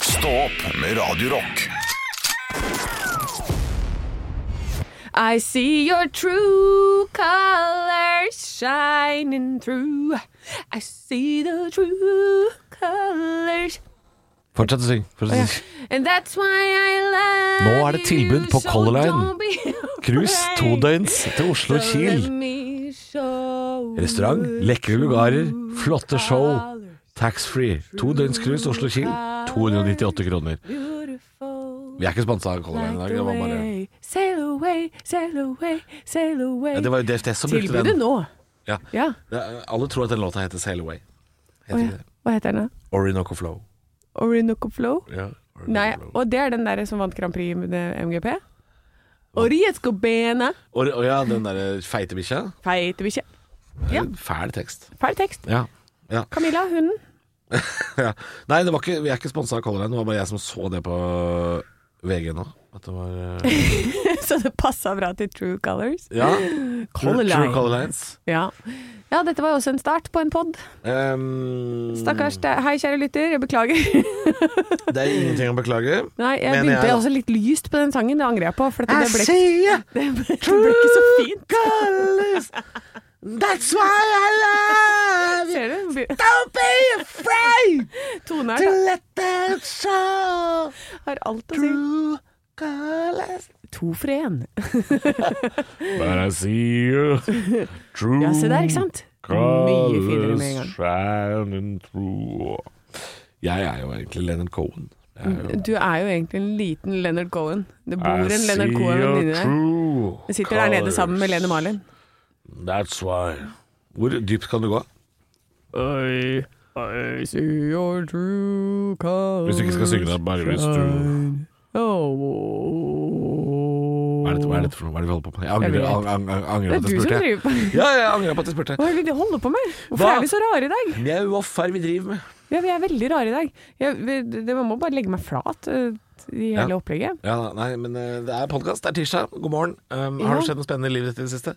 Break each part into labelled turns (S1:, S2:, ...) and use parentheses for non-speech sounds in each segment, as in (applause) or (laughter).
S1: Stå opp med Radio Rock.
S2: I see your true colors shining through. I see the true colors
S3: Fortsett å synge. Fortsett å synge.
S2: And that's why I love
S3: Nå er det tilbud på
S2: you, so
S3: Color Line.
S2: don't be (laughs)
S3: Cruise
S2: afraid.
S3: to døgns til Oslo
S2: So
S3: Kiel.
S2: let me show
S3: Restaurant,
S2: you
S3: lekre lugarer, flotte show.
S2: colors.
S3: Taxfree. To døgns cruise Oslo Kiel. 298 kroner.
S2: Beautiful.
S3: Vi er ikke sponsa av Color Line i dag. Det var bare
S2: away, sail away, sail away, sail away.
S3: ja, Det var jo DFT som brukte
S2: Tilbudet
S3: den.
S2: nå.
S3: Ja.
S2: Ja.
S3: Det- Alle tror at den låta heter Sail Away. Heter
S2: Å,
S3: ikke
S2: ja.
S3: det.
S2: Hva heter den? da?
S3: Orinoco Flow.
S2: Orinoco Flow?
S3: Ja, Orinoco
S2: Nei,
S3: Flow.
S2: og det er den derre som vant Grand Prix med det MGP? Oriesco bena.
S3: Og, og ja, den derre feite bikkja.
S2: Feite bikkje. Ja.
S3: Fæl tekst.
S2: Feil tekst.
S3: Ja. (laughs) ja.
S2: Camilla, (laughs) hunden.
S3: ja. Nei, det var ikke, vi er ikke sponsa av Color Line. Det var bare jeg som så det på VG nå. At det var eh,
S2: Så det passa bra til True Colors.
S3: Ja.
S2: (laughs) Color
S3: True,
S2: Line.
S3: True Color Lines.
S2: Ja. ja, dette var jo også en start på en pod.
S3: Ehm,
S2: Stakkars. det- Hei, kjære lytter, jeg beklager. (laughs)
S3: Det er ingenting å beklage.
S2: Nei, jeg
S3: Mener
S2: begynte
S3: jeg, da.
S2: også litt lyst på den sangen, det angrer jeg på. For at det, ble, ikke- (laughs)
S3: sier
S2: det, ble, det ble ikke så fint. (laughs)
S3: colors. That's why I love
S2: Ser du?
S3: Don't be afraid
S2: Tone her da,
S3: let them show
S2: har alt å si.
S3: colors.
S2: To for én.
S3: But I see
S2: (laughs)
S3: you. True
S2: Ja, se der, ikke sant? Mye finere med en gang.
S3: shining through. Jeg er jo egentlig Leonard Cohen. Jeg er jo-
S2: Du er jo egentlig en liten Leonard Cohen. Det bor
S3: I
S2: en Leonard
S3: see
S2: Cohen
S3: your
S2: inni deg.
S3: true
S2: Du sitter der nede sammen med
S3: colours.
S2: Lene Marlin.
S3: That's why. Hvor dypt kan du gå?
S2: I, I see your true colors
S3: Hvis du ikke skal synge det, bare hvis du
S2: Oh.
S3: Hva er dette, hva er dette for noe? Hva er det vi holder på med? Jeg
S2: Jeg
S3: angrer,
S2: vet.
S3: ang- ang- ang- angrer
S2: Det er
S3: på at
S2: du
S3: jeg
S2: som
S3: spurte. jeg.
S2: driver på
S3: Ja, jeg angrer på at jeg spurte.
S2: Hva er det de holder på med? Hvorfor
S3: Hva?
S2: er vi så rare i dag?
S3: Mjau og farr vi driver med.
S2: Ja, vi er veldig rare i dag. Jeg, vi- det, man må bare legge meg flat eh, i hele
S3: Ja.
S2: opplegget.
S3: Ja, da, nei, men eh, det er podkast, det er tirsdag. God morgen. Um,
S2: Ja.
S3: Har det skjedd noe spennende i livet ditt i det siste?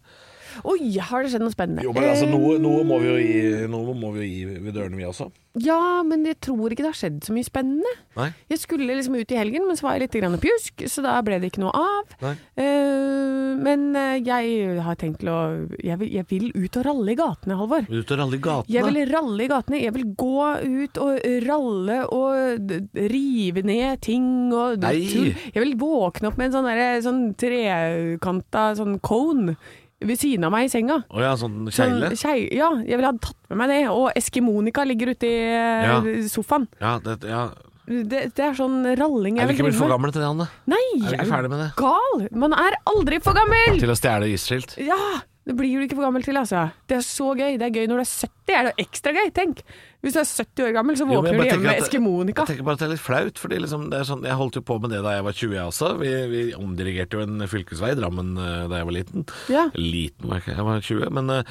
S2: Oi, har det skjedd noe spennende?
S3: Jo, men altså,
S2: Eh,
S3: noe, noe må vi jo gi, noe må vi jo gi ved dørene, vi også.
S2: Eh, Ja, men jeg tror ikke det har skjedd så mye spennende.
S3: Nei?
S2: Jeg skulle liksom ut i helgen, men så var jeg litt grann pjusk, så da ble det ikke noe av.
S3: Nei.
S2: Eh, men eh, jeg har tenkt til å jeg vil, jeg vil ut og ralle i gatene, Halvor.
S3: Ut og ralle i
S2: Jeg
S3: gatene.
S2: vil ralle i gatene. Jeg vil gå ut og ralle og d- d- rive ned ting og d-
S3: Nei.
S2: tull. Jeg vil våkne opp med en sånn, derre- sånn trekanta sånn cone ved siden av meg i senga.
S3: Å ja, sånn
S2: Sånn
S3: kjegle?
S2: kjei- ja, jeg ville ha tatt med meg det. Og Eskimonika ligger ute i eh,
S3: Ja.
S2: sofaen.
S3: Ja, det, ja.
S2: Det, det er sånn ralling
S3: Er
S2: jeg
S3: vi
S2: vil
S3: ikke blitt for
S2: drive med.
S3: gamle til det, Anne?
S2: Nei,
S3: Er vi
S2: jeg
S3: ikke ferdig med det?
S2: gal! Man er aldri for gammel!
S3: Til å stjele isskilt?
S2: Ja! Det blir du ikke for gammel til, altså. Det er så gøy. Det er gøy når du er 70. Er det jo ekstra gøy? Tenk. Hvis du er 70 år gammel, så
S3: Jo, men
S2: våkner du
S3: jeg
S2: hjemme
S3: bare tenker
S2: med
S3: at-
S2: Eskimonika.
S3: Jeg tenker bare at det er litt flaut, fordi liksom det er sånn, jeg holdt jo på med det da jeg var 20 jeg også. Vi, vi omdirigerte jo en fylkesvei i Drammen eh, da jeg var liten.
S2: Ja.
S3: Liten var jeg ikke, jeg var 20, men eh,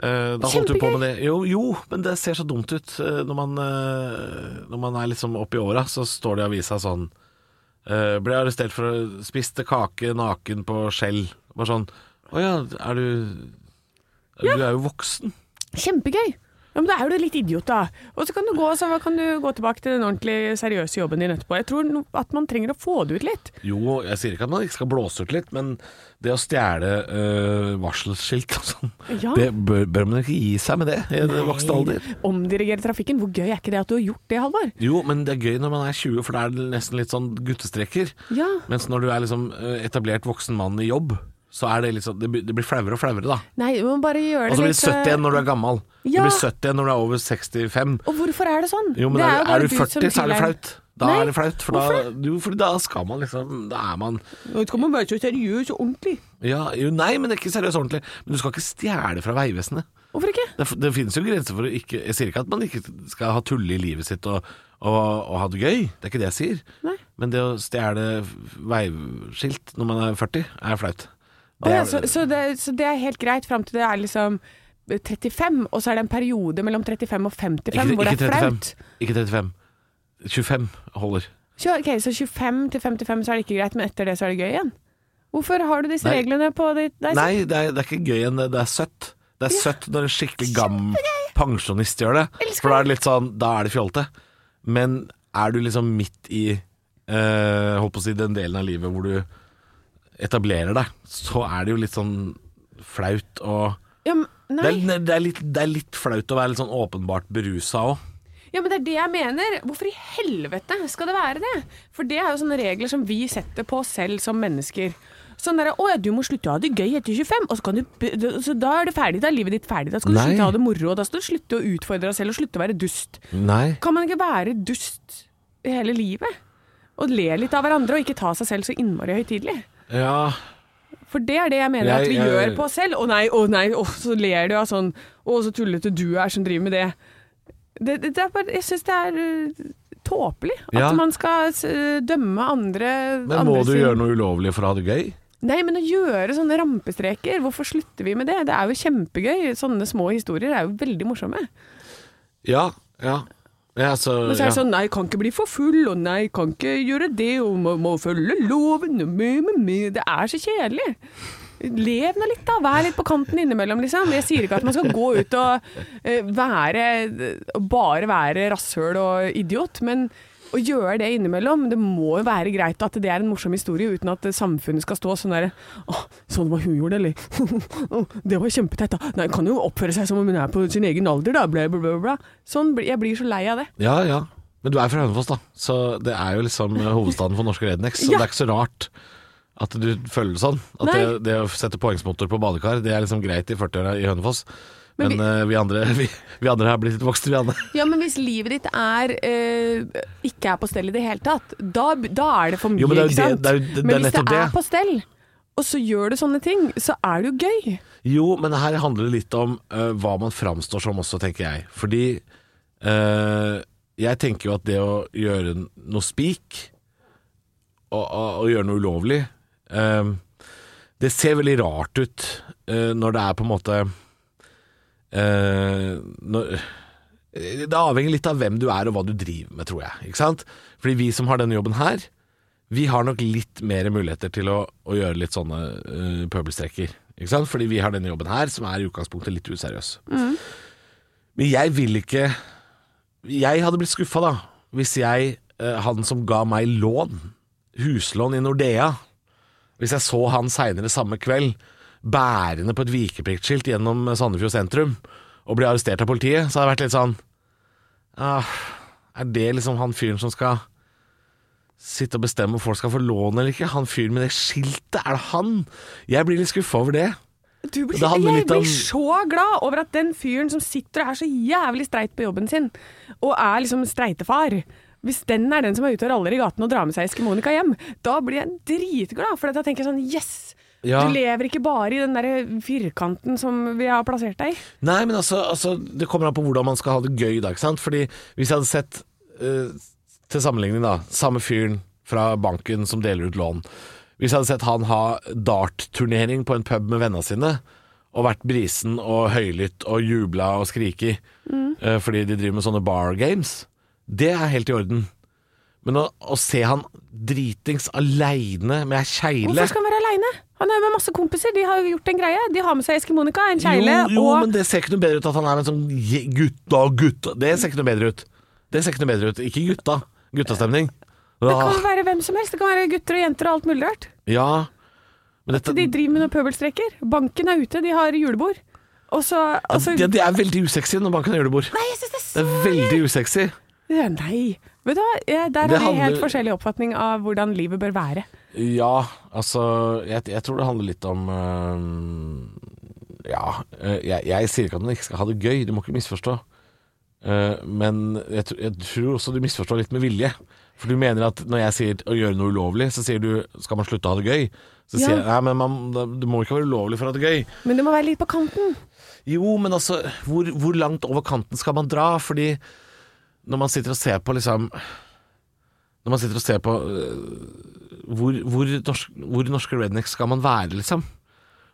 S3: eh, da holdt vi på
S2: Kjempegøy.
S3: med det. Jo, jo, men det ser så dumt ut eh, når man, eh, når man er liksom oppi åra, så står det i avisa sånn eh, Ble arrestert for å spiste kake naken på skjell. Bare sånn Å ja, er du Du er jo voksen.
S2: Kjempegøy! Ja, men Da er du litt idiot, da. Og så kan du gå, så kan du gå tilbake til den ordentlig seriøse jobben din etterpå. Jeg tror no- at man trenger å få det ut litt.
S3: Jo, jeg sier ikke at man ikke skal blåse ut litt, men det å stjele øh, varselskilt og sånn,
S2: Ja.
S3: det bør, bør man ikke gi seg med det i den voksne alder.
S2: Omdirigere trafikken. Hvor gøy er ikke det at du har gjort det, Halvor?
S3: Jo, men det er gøy når man er 20, for da er det nesten litt sånn guttestreker.
S2: Ja.
S3: Mens når du er liksom øh, etablert voksen mann i jobb, så er det litt sånn, det blir- det blir flauere og flauere da.
S2: Nei, du må bare gjøre
S3: Og
S2: det
S3: så Altså,
S2: litt
S3: blir det 70 igjen
S2: eh,
S3: når du er gammel. Det
S2: Ja.
S3: blir 70 igjen når du er over 65.
S2: Og hvorfor er det sånn?
S3: Jo, men
S2: det
S3: er,
S2: jo
S3: er,
S2: bare
S3: du
S2: som
S3: 40, så er det
S2: sier-
S3: flaut. Da
S2: Nei,
S3: er det flaut, for da, jo, for da skal man liksom, da er man
S2: Nå skal man være så seriøs og ordentlig.
S3: ja, jo, Nei, men det er ikke seriøst ordentlig Men du skal ikke stjele fra veivesenet
S2: Hvorfor ikke?
S3: Det, det finnes jo grenser for å ikke Jeg sier ikke at man ikke skal ha tulle i livet sitt og, og, og ha det gøy. Det er ikke det jeg sier.
S2: Nei.
S3: Men det å stjele veiskilt når man er 40, er flaut.
S2: Å
S3: Det
S2: ja,
S3: er-
S2: så, så, det, så det er helt greit fram til det er liksom 35, og så er det en periode mellom 35 og 55
S3: ikke,
S2: hvor det
S3: ikke
S2: er
S3: 35.
S2: flaut.
S3: Ikke 35. 25 holder.
S2: Så, ok, så 25 til 55 så er det ikke greit, men etter det så er det gøy igjen. Hvorfor har du disse
S3: Nei.
S2: reglene på ditt deg selv?
S3: Nei, det er, det er ikke gøy enn det. Det er søtt. Det er søtt når en skikkelig gammel pensjonist gjør det.
S2: Elsker
S3: For da er det litt sånn Da er det fjolte. Men er du liksom midt i eh, Holdt på å si den delen av livet hvor du etablerer deg, så er det jo litt sånn flaut og
S2: Ja, men-
S3: det
S2: nei.
S3: er, det, er litt, det er litt flaut å være litt sånn åpenbart berusa òg.
S2: Ja, men det er det jeg mener. Hvorfor i helvete skal det være det? For det er jo sånne regler som vi setter på oss selv som mennesker. Sånn derre 'Å ja, du må slutte å ha det gøy etter 25', og så, kan du, be- du- så da er det ferdig. Da er livet ditt ferdig. Da skal du
S3: Nei.
S2: slutte å ha det moro, og da skal du slutte å utfordre deg selv og slutte å være dust.
S3: Nei.
S2: Kan man ikke være dust hele livet? Og le litt av hverandre, og ikke ta seg selv så innmari høytidelig?
S3: Ja,
S2: For det er det jeg mener at
S3: Jeg-
S2: vi
S3: jeg-
S2: gjør på oss selv. Å nei, å nei, å så ler du av sånn Å så tullete du er som driver med det. det, det, det er bare, jeg syns det er øh, tåpelig at
S3: Ja.
S2: man skal øh, dømme andre
S3: Men må du gjøre noe ulovlig for å ha det gøy?
S2: Nei, men å gjøre sånne rampestreker, hvorfor slutter vi med det? Det er jo kjempegøy. Sånne små historier er jo veldig morsomme.
S3: Ja. Ja. ja så,
S2: Men så er det
S3: ja.
S2: sånn nei, kan ikke bli for full, og nei, kan ikke gjøre det, og må, må følge loven, og mye, mye, mye. Det er så kjedelig. Lev nå litt, da. Vær litt på kanten innimellom, liksom. Jeg sier ikke at man skal gå ut og eh, være Bare være rasshøl og idiot, men å gjøre det innimellom Det må jo være greit at det er en morsom historie, uten at samfunnet skal stå sånn derre Å, sånn var hun gjorde det, eller? (laughs) Å, det var kjempeteit, da. Nei, kan jo oppføre seg som om hun er på sin egen alder, da. Bla, bla, bla. bla. Sånn, blir- jeg blir så lei av det.
S3: ja, ja. Men du er fra Hønefoss, da. Så det er jo liksom hovedstaden for norske Rednecks. Så
S2: Ja.
S3: det er ikke så rart at du føler det sånn. At det,
S2: Nei.
S3: det å sette poengsmotor på badekar, det er liksom greit i 40-åra i Hønefoss.
S2: Men
S3: Men, eh, vi, andre, (laughs) vi, vi andre har blitt litt voksne, vi andre.
S2: Ja, men hvis livet ditt er eh, ikke er på stell i det hele tatt, da, da er det for mye,
S3: Jo, men det er jo
S2: ikke
S3: det-
S2: sant?
S3: det er jo- det- det er
S2: men hvis det
S3: nettopp
S2: er
S3: det.
S2: på stell, og så gjør du sånne ting, så er det jo gøy.
S3: Jo, men her handler det litt om eh, hva man framstår som også, tenker jeg. Fordi eh, jeg tenker jo at det å gjøre n- noe spik, og, og, og gjøre noe ulovlig, eh, det ser veldig rart ut eh, når det er på en måte eh, når, Det avhenger litt av hvem du er og hva du driver med, tror jeg. Ikke sant? Fordi vi som har denne jobben her, vi har nok litt mer muligheter til å, å gjøre litt sånne uh, pøbelstreker. Ikke sant? Fordi vi har denne jobben her, som er i utgangspunktet litt useriøs. Men jeg vil ikke Jeg hadde blitt skuffa, da, hvis jeg, eh, han som ga meg lån, huslån i Nordea Hvis jeg så han seinere samme kveld bærende på et vikepliktskilt gjennom Sandefjord sentrum og ble arrestert av politiet, så hadde jeg vært litt sånn ah, Er det liksom han fyren som skal sitte og bestemme om folk skal få lån eller ikke. Han fyren med det skiltet, er det han? Jeg blir litt skuffa over det.
S2: Du blir,
S3: Det handler
S2: jeg
S3: litt
S2: blir
S3: om-
S2: så glad over at den fyren som sitter og er så jævlig streit på jobben sin, og er liksom streitefar hvis den er den som er ute og raller i gaten og drar med seg Eskimonika hjem, da blir jeg dritglad. For da tenker jeg sånn Yes!
S3: Ja.
S2: Du lever ikke bare i den der firkanten som vi har plassert deg i.
S3: Nei, men altså, altså Det kommer an på hvordan man skal ha det gøy, da. ikke sant? Fordi hvis jeg hadde sett, eh, til sammenligning, da, samme fyren fra banken som deler ut lån Hvis jeg hadde sett han ha dartturnering på en pub med vennene sine, og vært brisen og høylytt og jubla og skriki eh, fordi de driver med sånne bar games, det er helt i orden. Men å, å se han dritings aleine med ei
S2: Hvorfor
S3: kjegle
S2: skal han være aleine? Han er jo med masse kompiser, de har jo gjort en greie. De har med seg Eskimonika, en kjegle
S3: Jo, jo
S2: og
S3: men det ser ikke noe bedre ut at han er en sånn je- gutta, gutta Det ser ikke noe bedre ut. Det ser ikke noe bedre ut. Ikke gutta. Guttastemning.
S2: Det kan jo
S3: Ja,
S2: være hvem som helst. Det kan være gutter og jenter og alt mulig rart.
S3: ja. Men dette
S2: Så de driver med noen pøbelstreker. Banken er ute, de har julebord. Og så, og så
S3: ja, Det er veldig usexy når man kan gjøre det bord.
S2: Nei, jeg syns det er
S3: Det
S2: så
S3: er veldig usexy.
S2: ja, Nei. Vet du hva, jeg, der
S3: Det
S2: har vi helt
S3: handler-
S2: forskjellig oppfatning av hvordan livet bør være.
S3: Ja, altså Jeg, jeg tror det handler litt om øhm, Ja, øh, jeg, jeg sier ikke at man ikke skal ha det gøy, du må ikke misforstå. Eh, men jeg, tr- jeg tror også du misforstår litt med vilje. For du mener at når jeg sier å gjøre noe ulovlig, så sier du skal man slutte å ha det gøy? Så
S2: Ja.
S3: sier jeg nei, men man, da- det må ikke være ulovlig for å ha det gøy.
S2: Men det må være litt på kanten.
S3: Jo, men altså, hvor, hvor langt over kanten skal man dra? Fordi når man sitter og ser på liksom Når man sitter og ser på øh, hvor, hvor, norsk, hvor norske rednecks skal man være, liksom?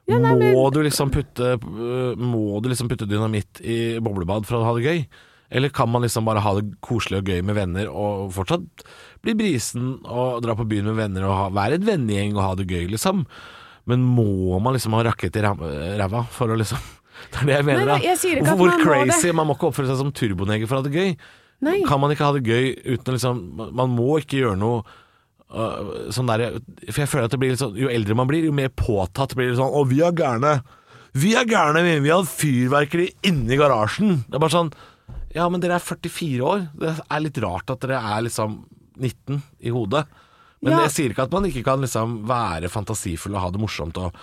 S2: nei, men-
S3: Må du liksom putte øh, Må du liksom putte dynamitt i boblebad for å ha det gøy? Eller kan man liksom bare ha det koselig og gøy med venner og fortsatt bli brisen og dra på byen med venner og ha, være et vennegjeng og ha det gøy, liksom? Men må man liksom ha rakett i ram- ræva for å liksom (laughs) Det er det jeg mener,
S2: Nei, nei,
S3: da.
S2: jeg sier ikke
S3: Hvorfor-
S2: at
S3: Hvor
S2: man må det.
S3: crazy? Man må ikke oppføre seg som turboneger for å ha det gøy.
S2: Nei.
S3: Kan man ikke ha det gøy uten å liksom Man må ikke gjøre noe øh, sånn der For jeg føler at det blir litt sånn Jo eldre man blir, jo mer påtatt blir det sånn Å, vi er gærne. Vi er gærne, vi. Vi hadde fyrverkeri inni garasjen. Det er bare sånn Ja, men dere er 44 år. Det er litt rart at dere er liksom 19 i hodet. Men
S2: Ja.
S3: jeg sier ikke at man ikke kan liksom være fantasifull og ha det morsomt og,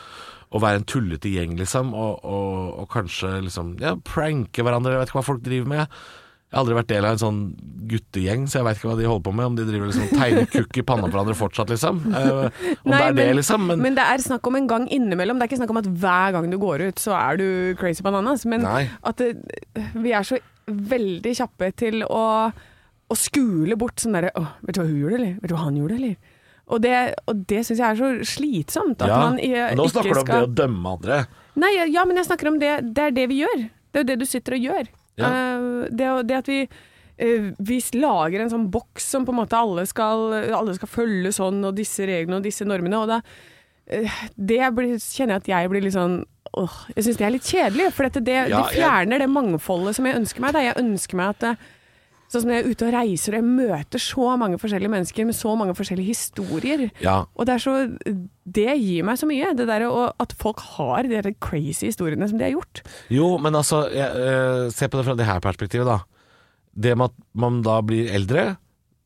S3: og være en tullete gjeng, liksom. Og, og, og kanskje liksom ja, pranke hverandre. Jeg vet ikke hva folk driver med. Jeg har aldri vært del av en sånn guttegjeng, så jeg veit ikke hva de holder på med. Om de driver liksom tegner kukk i panna på hverandre fortsatt, liksom. Eh, om det
S2: Nei,
S3: er det, liksom. Men,
S2: det er snakk om en gang innimellom. Det er ikke snakk om at hver gang du går ut, så er du crazy bananas. Men
S3: Nei.
S2: at det, vi er så veldig kjappe til å, å skule bort sånn derre «Åh, Vet du hva hun gjorde, eller? Vet du hva han gjorde, eller? Og det, og det syns jeg er så slitsomt. At
S3: ja,
S2: man i-
S3: nå
S2: ikke
S3: snakker du om det
S2: skal
S3: å dømme andre.
S2: Nei, ja, men jeg snakker om det. Det er det vi gjør. Det er jo det du sitter og gjør.
S3: Ja.
S2: Eh, det, å- det at vi eh, vi lager en sånn boks som på en måte alle skal, alle skal følge sånn, og disse reglene og disse normene. Og da, eh, det blir, kjenner jeg at jeg blir litt sånn åh, Jeg syns det er litt kjedelig, for dette, det,
S3: Ja,
S2: det
S3: jeg-
S2: fjerner det mangfoldet som jeg ønsker meg. Da. Jeg ønsker meg at eh, Sånn som når jeg er ute og reiser og jeg møter så mange forskjellige mennesker med så mange forskjellige historier.
S3: Ja.
S2: Og det er så Det gir meg så mye. Det der, å- at folk har de der crazy historiene som de har gjort.
S3: Jo, men altså, jeg, eh, se på det fra det her perspektivet, da. Det med at man da blir eldre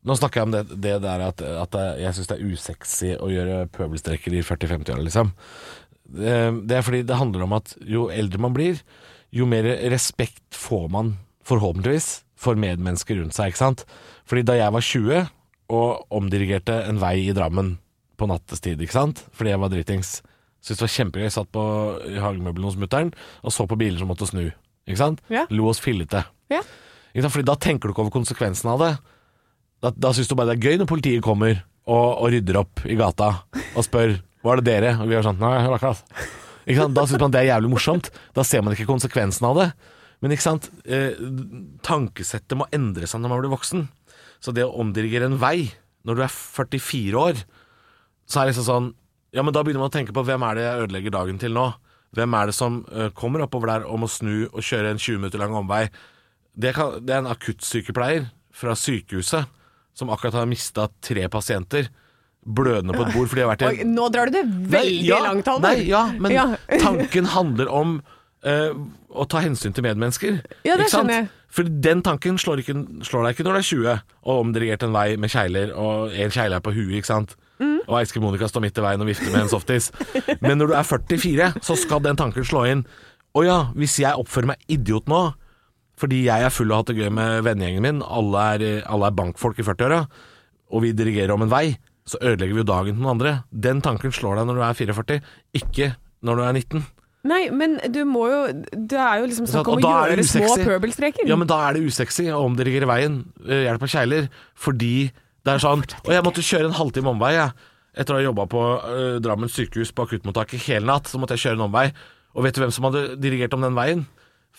S3: Nå snakker jeg om det, det der at, at det- jeg syns det er usexy å gjøre pøbelstreker i 40-50-åra, liksom. Eh, Det, det er fordi det handler om at jo eldre man blir, jo mer respekt får man forhåpentligvis for medmennesker rundt seg, ikke sant? Fordi da jeg var 20 og omdirigerte en vei i Drammen på nattestid, ikke sant? Fordi jeg var dritings. Syntes det var kjempegøy. Jeg Satt på i hagemøbelen hos mutter'n og så på biler som måtte snu. Ikke sant?
S2: Ja.
S3: Lo oss fillete.
S2: Ja.
S3: Ikke sant? Fordi da tenker du ikke over konsekvensen av det. Da, da syns du bare det er gøy når politiet kommer og, og rydder opp i gata og spør Var det dere? Og vi er sånn Nei, det var ikke oss. Ikke sant? Da syns man det er jævlig morsomt. Da ser man ikke konsekvensen av det. Men ikke sant? Eh, tankesettet må endre seg når man blir voksen. Så det å omdirigere en vei når du er 44 år, så er det liksom sånn Ja, men da begynner man å tenke på hvem er det jeg ødelegger dagen til nå? Hvem er det som eh, kommer oppover der og må snu og kjøre en 20 minutter lang omvei? Det, kan, det er en akuttsykepleier fra sykehuset som akkurat har mista tre pasienter blødende på et bord fordi de har vært i
S2: Oi, nå drar du det veldig
S3: Nei, ja,
S2: langt, Halvor.
S3: Nei, ja, men
S2: Ja. (laughs)
S3: tanken handler om eh, å ta hensyn til medmennesker.
S2: Ja, det
S3: ikke sant?
S2: skjønner jeg.
S3: For den tanken slår, ikke, slår deg ikke når du er 20 og omdirigert en vei med kjegler, og en kjegle er på huet, ikke sant? Og Eiske Monica står midt i veien og vifter med en
S2: (laughs)
S3: softis. Men når du er 44, så skal den tanken slå inn. Å ja, hvis jeg oppfører meg idiot nå, fordi jeg er full og har hatt det gøy med vennegjengen min, alle er, alle er bankfolk i 40-åra, og vi dirigerer om en vei, så ødelegger vi jo dagen til noen andre. Den tanken slår deg når du er 44, ikke når du er 19.
S2: Nei, men du må jo Det er jo liksom
S3: Sånn,
S2: snakk om å
S3: og da er
S2: gjøre
S3: det
S2: små
S3: usexy.
S2: pøbelstreker.
S3: Ja, men da er det usexy å omdirigere veien, eh, hjelp av kjegler, fordi det er sånn Og jeg måtte kjøre en halvtime omvei, jeg. Etter å ha jobba på eh, Drammen sykehus på akuttmottaket hele natt, så måtte jeg kjøre en omvei. Og vet du hvem som hadde dirigert om den veien?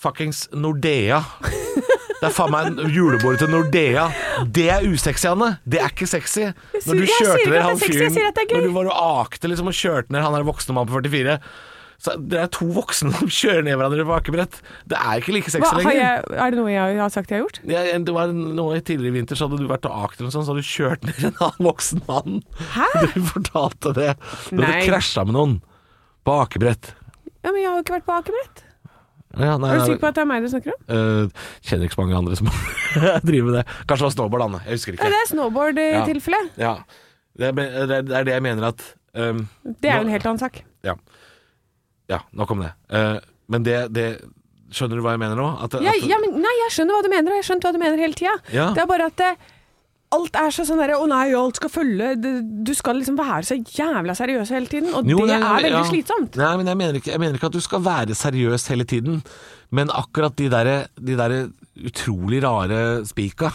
S3: Fuckings Nordea. Det er faen meg en julebordet til Nordea. Det er usexy, Anne. Det er ikke sexy.
S2: sier-
S3: Når du
S2: jeg sier
S3: kjørte
S2: ikke at
S3: ned
S2: det er
S3: han
S2: sexy, jeg
S3: fyren
S2: sier at det er gøy.
S3: Når du var og akte liksom og kjørte ned han der voksne mannen på 44 så Det er to voksne som kjører ned hverandre på akebrett. Det er ikke like sexy
S2: Hva, har
S3: lenger.
S2: jeg, er det noe jeg har sagt jeg har gjort?
S3: Ja, det var noe i tidligere i vinter, så hadde du vært og akt eller noe sånt, så hadde du kjørt ned en annen voksen mann. (laughs)
S2: Hæ?
S3: Du fortalte det. Du
S2: Nei.
S3: hadde krasja med noen på akebrett.
S2: Ja, men Jeg har jo ikke vært på akebrett.
S3: Ja, nei,
S2: Er du
S3: nei,
S2: sikker på at det er meg du snakker om?
S3: øh, kjenner ikke så mange andre som (laughs) driver med det. Kanskje det var snowboard, Anne. Jeg
S2: Ja,
S3: husker ikke.
S2: det er eh, snowboard-tilfellet.
S3: Ja. Det, er, det er- det er det jeg mener at øhm,
S2: Det er jo
S3: Nå-
S2: en helt annen sak.
S3: Ja. ja, nok om det. Eh, men det, det Skjønner du hva jeg mener nå? At, at,
S2: Jeg, ja, men, nei, jeg skjønner hva du mener, og jeg har skjønt hva du mener hele tida.
S3: Ja.
S2: Det er bare at eh, alt er så sånn derre Å nei, alt skal følge det- Du skal liksom være så jævla seriøs hele tiden, og
S3: Jo,
S2: det
S3: nei,
S2: er veldig
S3: ja.
S2: slitsomt.
S3: Nei, men jeg mener, ikke, jeg mener ikke at du skal være seriøs hele tiden, men akkurat de derre de der utrolig rare spika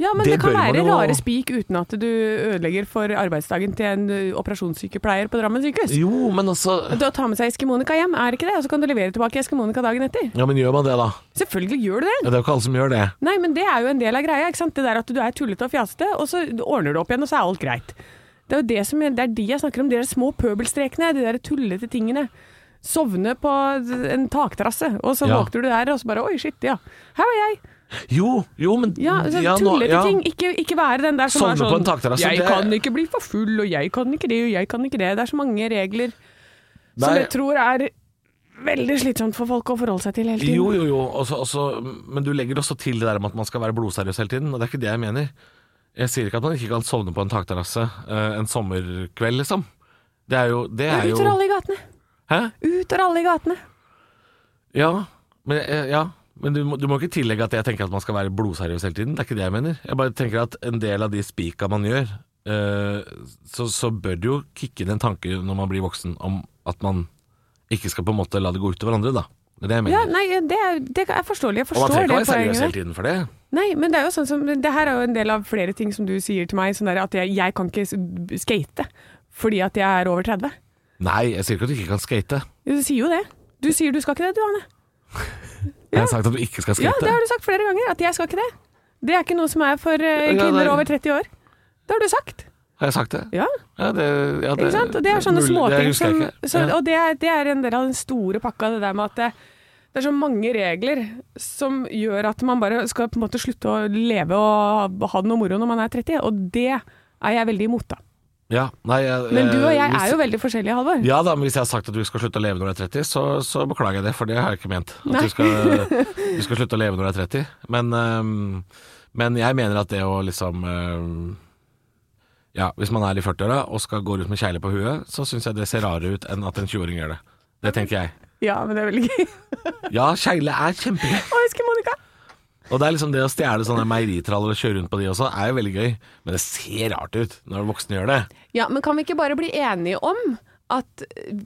S2: Ja, men det,
S3: Det
S2: kan
S3: bør man
S2: være
S3: jo-
S2: rare spik uten at du ødelegger for arbeidsdagen til en ø, operasjonssykepleier på Drammen sykehus.
S3: Jo, men altså
S2: Det å ta med seg Eske Monica hjem, er ikke det? Og så kan du levere tilbake Eske Monica dagen etter.
S3: Ja, men gjør man det, da?
S2: Selvfølgelig gjør du
S3: Ja,
S2: det.
S3: Det er jo ikke alle som gjør det.
S2: Nei, men det er jo en del av greia. ikke sant? Det der at du er tullete og fjasete, og så ordner du opp igjen, og så er alt greit. Det er jo det som, jeg- det er de jeg snakker om. De der små pøbelstrekene, de der tullete tingene. Sovne på en takterrasse, og så
S3: Ja.
S2: våkner du der, og så bare Oi, shit, ja. Her var jeg.
S3: Jo, jo, men
S2: Ja, altså,
S3: nå-
S2: tullete
S3: ja.
S2: ting. Ikke, ikke være den der som
S3: Sovne
S2: er sånn
S3: på en takterrasse,
S2: Jeg
S3: det-
S2: kan ikke bli for full, og jeg kan ikke det, og jeg kan ikke det. Det er så mange regler som
S3: Nei.
S2: jeg tror er veldig slitsomt for folk å forholde seg til hele tiden.
S3: Jo, jo, jo. Også, også, men du legger det også til det der med at man skal være blodseriøs hele tiden, og det er ikke det jeg mener. Jeg sier ikke at man ikke kan sovne på en takterrasse eh, en sommerkveld, liksom. Det er jo, det er
S2: Ut og
S3: jo
S2: ralle i gatene!
S3: Hæ?
S2: Ut og ralle i gatene!
S3: Ja. Men, eh, ja. men du, må, du må ikke tillegge at jeg tenker at man skal være blodseriøs hele tiden. Det er ikke det jeg mener. Jeg bare tenker at en del av de spika man gjør, eh, så, så bør det jo kicke inn en tanke når man blir voksen om at man ikke skal på en måte la det gå ut over andre, da. Det er det jeg
S2: Ja,
S3: mener.
S2: nei, det er, det er forståelig. Jeg
S3: og man
S2: forstår
S3: trenger ikke
S2: det
S3: å være seriøs hele
S2: poenget. der.
S3: tiden for det.
S2: Nei, men det er jo sånn som Det her er jo en del av flere ting som du sier til meg, sånn der at jeg, jeg kan ikke s- skate fordi at jeg er over 30.
S3: Nei, jeg sier ikke at du ikke kan skate.
S2: Du sier jo det. Du sier du skal ikke det, du, Anne.
S3: Jeg har sagt at du ikke skal skate.
S2: Ja, det har du sagt flere ganger, at jeg skal ikke det. Det er ikke noe som er for eh,
S3: Ja,
S2: kvinner
S3: nei.
S2: over 30 år. Det har du sagt.
S3: Har jeg sagt det?
S2: Ja,
S3: Ja, det, ja, det
S2: ikke sant? Og det er sånne
S3: mulig- det
S2: småting
S3: husker
S2: som
S3: jeg ikke.
S2: så,
S3: ja.
S2: Og det er, det er en del av den store pakka, det der med at det, det er så mange regler som gjør at man bare skal på en måte slutte å leve og ha det noe moro når man er 30, og det er jeg veldig imot, da.
S3: ja, nei, jeg, eh,
S2: Men du og jeg
S3: hvis-
S2: er jo veldig forskjellige, Halvor.
S3: Ja da, men hvis jeg har sagt at du skal slutte å leve når du er 30, så, så beklager jeg det, for det har jeg ikke ment. At
S2: Nei.
S3: du skal, du skal slutte å leve når du er 30. Men, øhm, men jeg mener at det å liksom øhm, Ja, hvis man er i 40-åra og skal gå rundt med kjegle på huet, så syns jeg det ser rarere ut enn at en 20-åring gjør det. Det tenker jeg.
S2: Ja, men det er veldig gøy. (laughs)
S3: Ja, kjegle er kjempegøy.
S2: Å, husker Monica?
S3: Og det er liksom det å stjele sånne meieritraller og kjøre rundt på de også, er jo veldig gøy. Men det ser rart ut når voksne gjør det.
S2: Ja, men kan vi ikke bare bli enige om at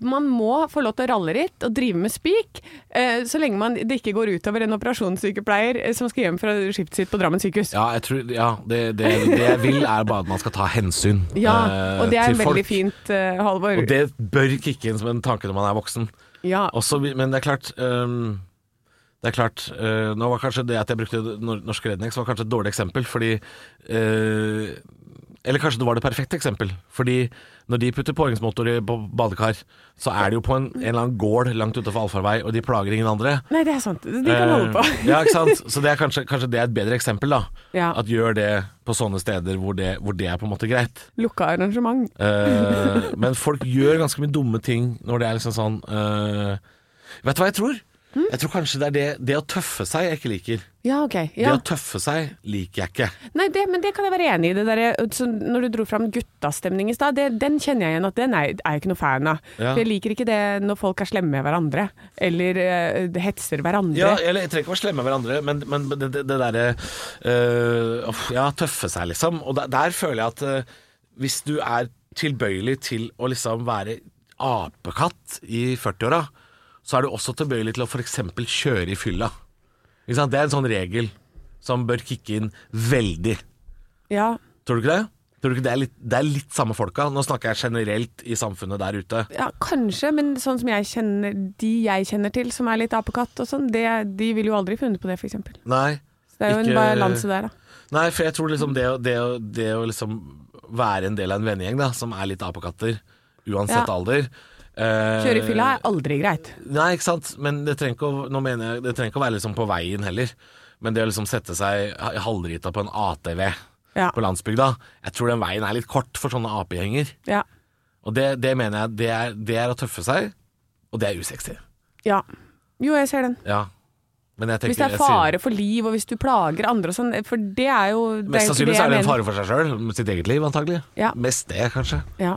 S2: man må få lov til å ralle litt og drive med spik, eh, så lenge man, det ikke går utover en operasjonssykepleier eh, som skal hjem fra skiftet sitt på Drammen sykehus.
S3: Ja, jeg tror, ja det, det, det jeg vil er bare at man skal ta hensyn
S2: Ja,
S3: eh,
S2: og det er
S3: til
S2: veldig
S3: folk.
S2: fint, eh, Halvor.
S3: Og det bør kicke inn som en tanke når man er voksen.
S2: ja.
S3: Også, vi- men det er klart ehm, det er klart, eh, nå var kanskje det at jeg brukte nor- Norsk Rednecks var kanskje et dårlig eksempel, fordi eh, Eller kanskje det var det perfekte eksempel. Fordi når de putter påhengsmotor i- på badekar, så er det jo på en, en eller annen gård langt utenfor allfarvei, og de plager ingen andre.
S2: Nei, det er sant. De kan holde på.
S3: Eh, ja, ikke sant? Så det er kanskje, kanskje det er et bedre eksempel, da.
S2: Ja.
S3: At gjør det på sånne steder hvor det, hvor det er på en måte greit.
S2: (laughs) Lukka arrangement.
S3: Eh, men folk gjør ganske mye dumme ting når det er liksom sånn eh, Vet du hva jeg tror? Jeg tror kanskje det er det, det å tøffe seg jeg ikke liker.
S2: Ja, ok.
S3: Det
S2: Ja.
S3: å tøffe seg liker jeg ikke.
S2: Nei, det, men det kan jeg være enig i. Det der, så når du dro fram guttastemning i stad, det- den kjenner jeg igjen at den er, er jeg ikke noe fan av.
S3: Ja.
S2: For jeg liker ikke det når folk er slemme med hverandre, eller eh, hetser hverandre.
S3: Ja, eller jeg trenger ikke være slemme med hverandre, men, men det, det, det derre øh, uff, Ja, tøffe seg, liksom. Og der, der føler jeg at øh, hvis du er tilbøyelig til å liksom være apekatt i 40-åra, så er du også tilbøyelig til å f.eks. kjøre i fylla. Ikke sant? Det er en sånn regel som bør kicke inn veldig.
S2: Ja.
S3: Tror du ikke det? Tror du ikke det er litt, det er litt samme folka? Nå snakker jeg generelt i samfunnet der ute.
S2: Ja, kanskje, men sånn som jeg kjenner de jeg kjenner til som er litt apekatt og sånn, det, de ville jo aldri funnet på det, f.eks. Så
S3: Nei.
S2: det er jo
S3: ikke-
S2: en balanse der, da.
S3: Nei, for jeg tror liksom det, å- det, å- det å liksom være en del av en vennegjeng da, som er litt apekatter, uansett
S2: Ja.
S3: alder eh,
S2: Kjøre i fylla er aldri greit.
S3: Nei, ikke sant. Men det trenger ikke å, nå mener jeg, det trenger ikke å være liksom på veien heller. Men det å liksom sette seg ha- halvrita på en ATV
S2: Ja.
S3: på landsbygda, jeg tror den veien er litt kort for sånne apegjenger.
S2: Ja.
S3: Og det, det mener jeg, det er, det er å tøffe seg, og det er usexy.
S2: ja. Jo, jeg ser den.
S3: Ja. Men jeg tenker,
S2: Hvis det er
S3: jeg sier-
S2: fare for liv, og hvis du plager andre og sånn, for det er jo det
S3: Mest
S2: jo ikke
S3: sannsynlig så er det en
S2: jeg
S3: fare for seg sjøl, sitt eget liv antagelig.
S2: Ja.
S3: Mest det, kanskje.
S2: mener. Ja.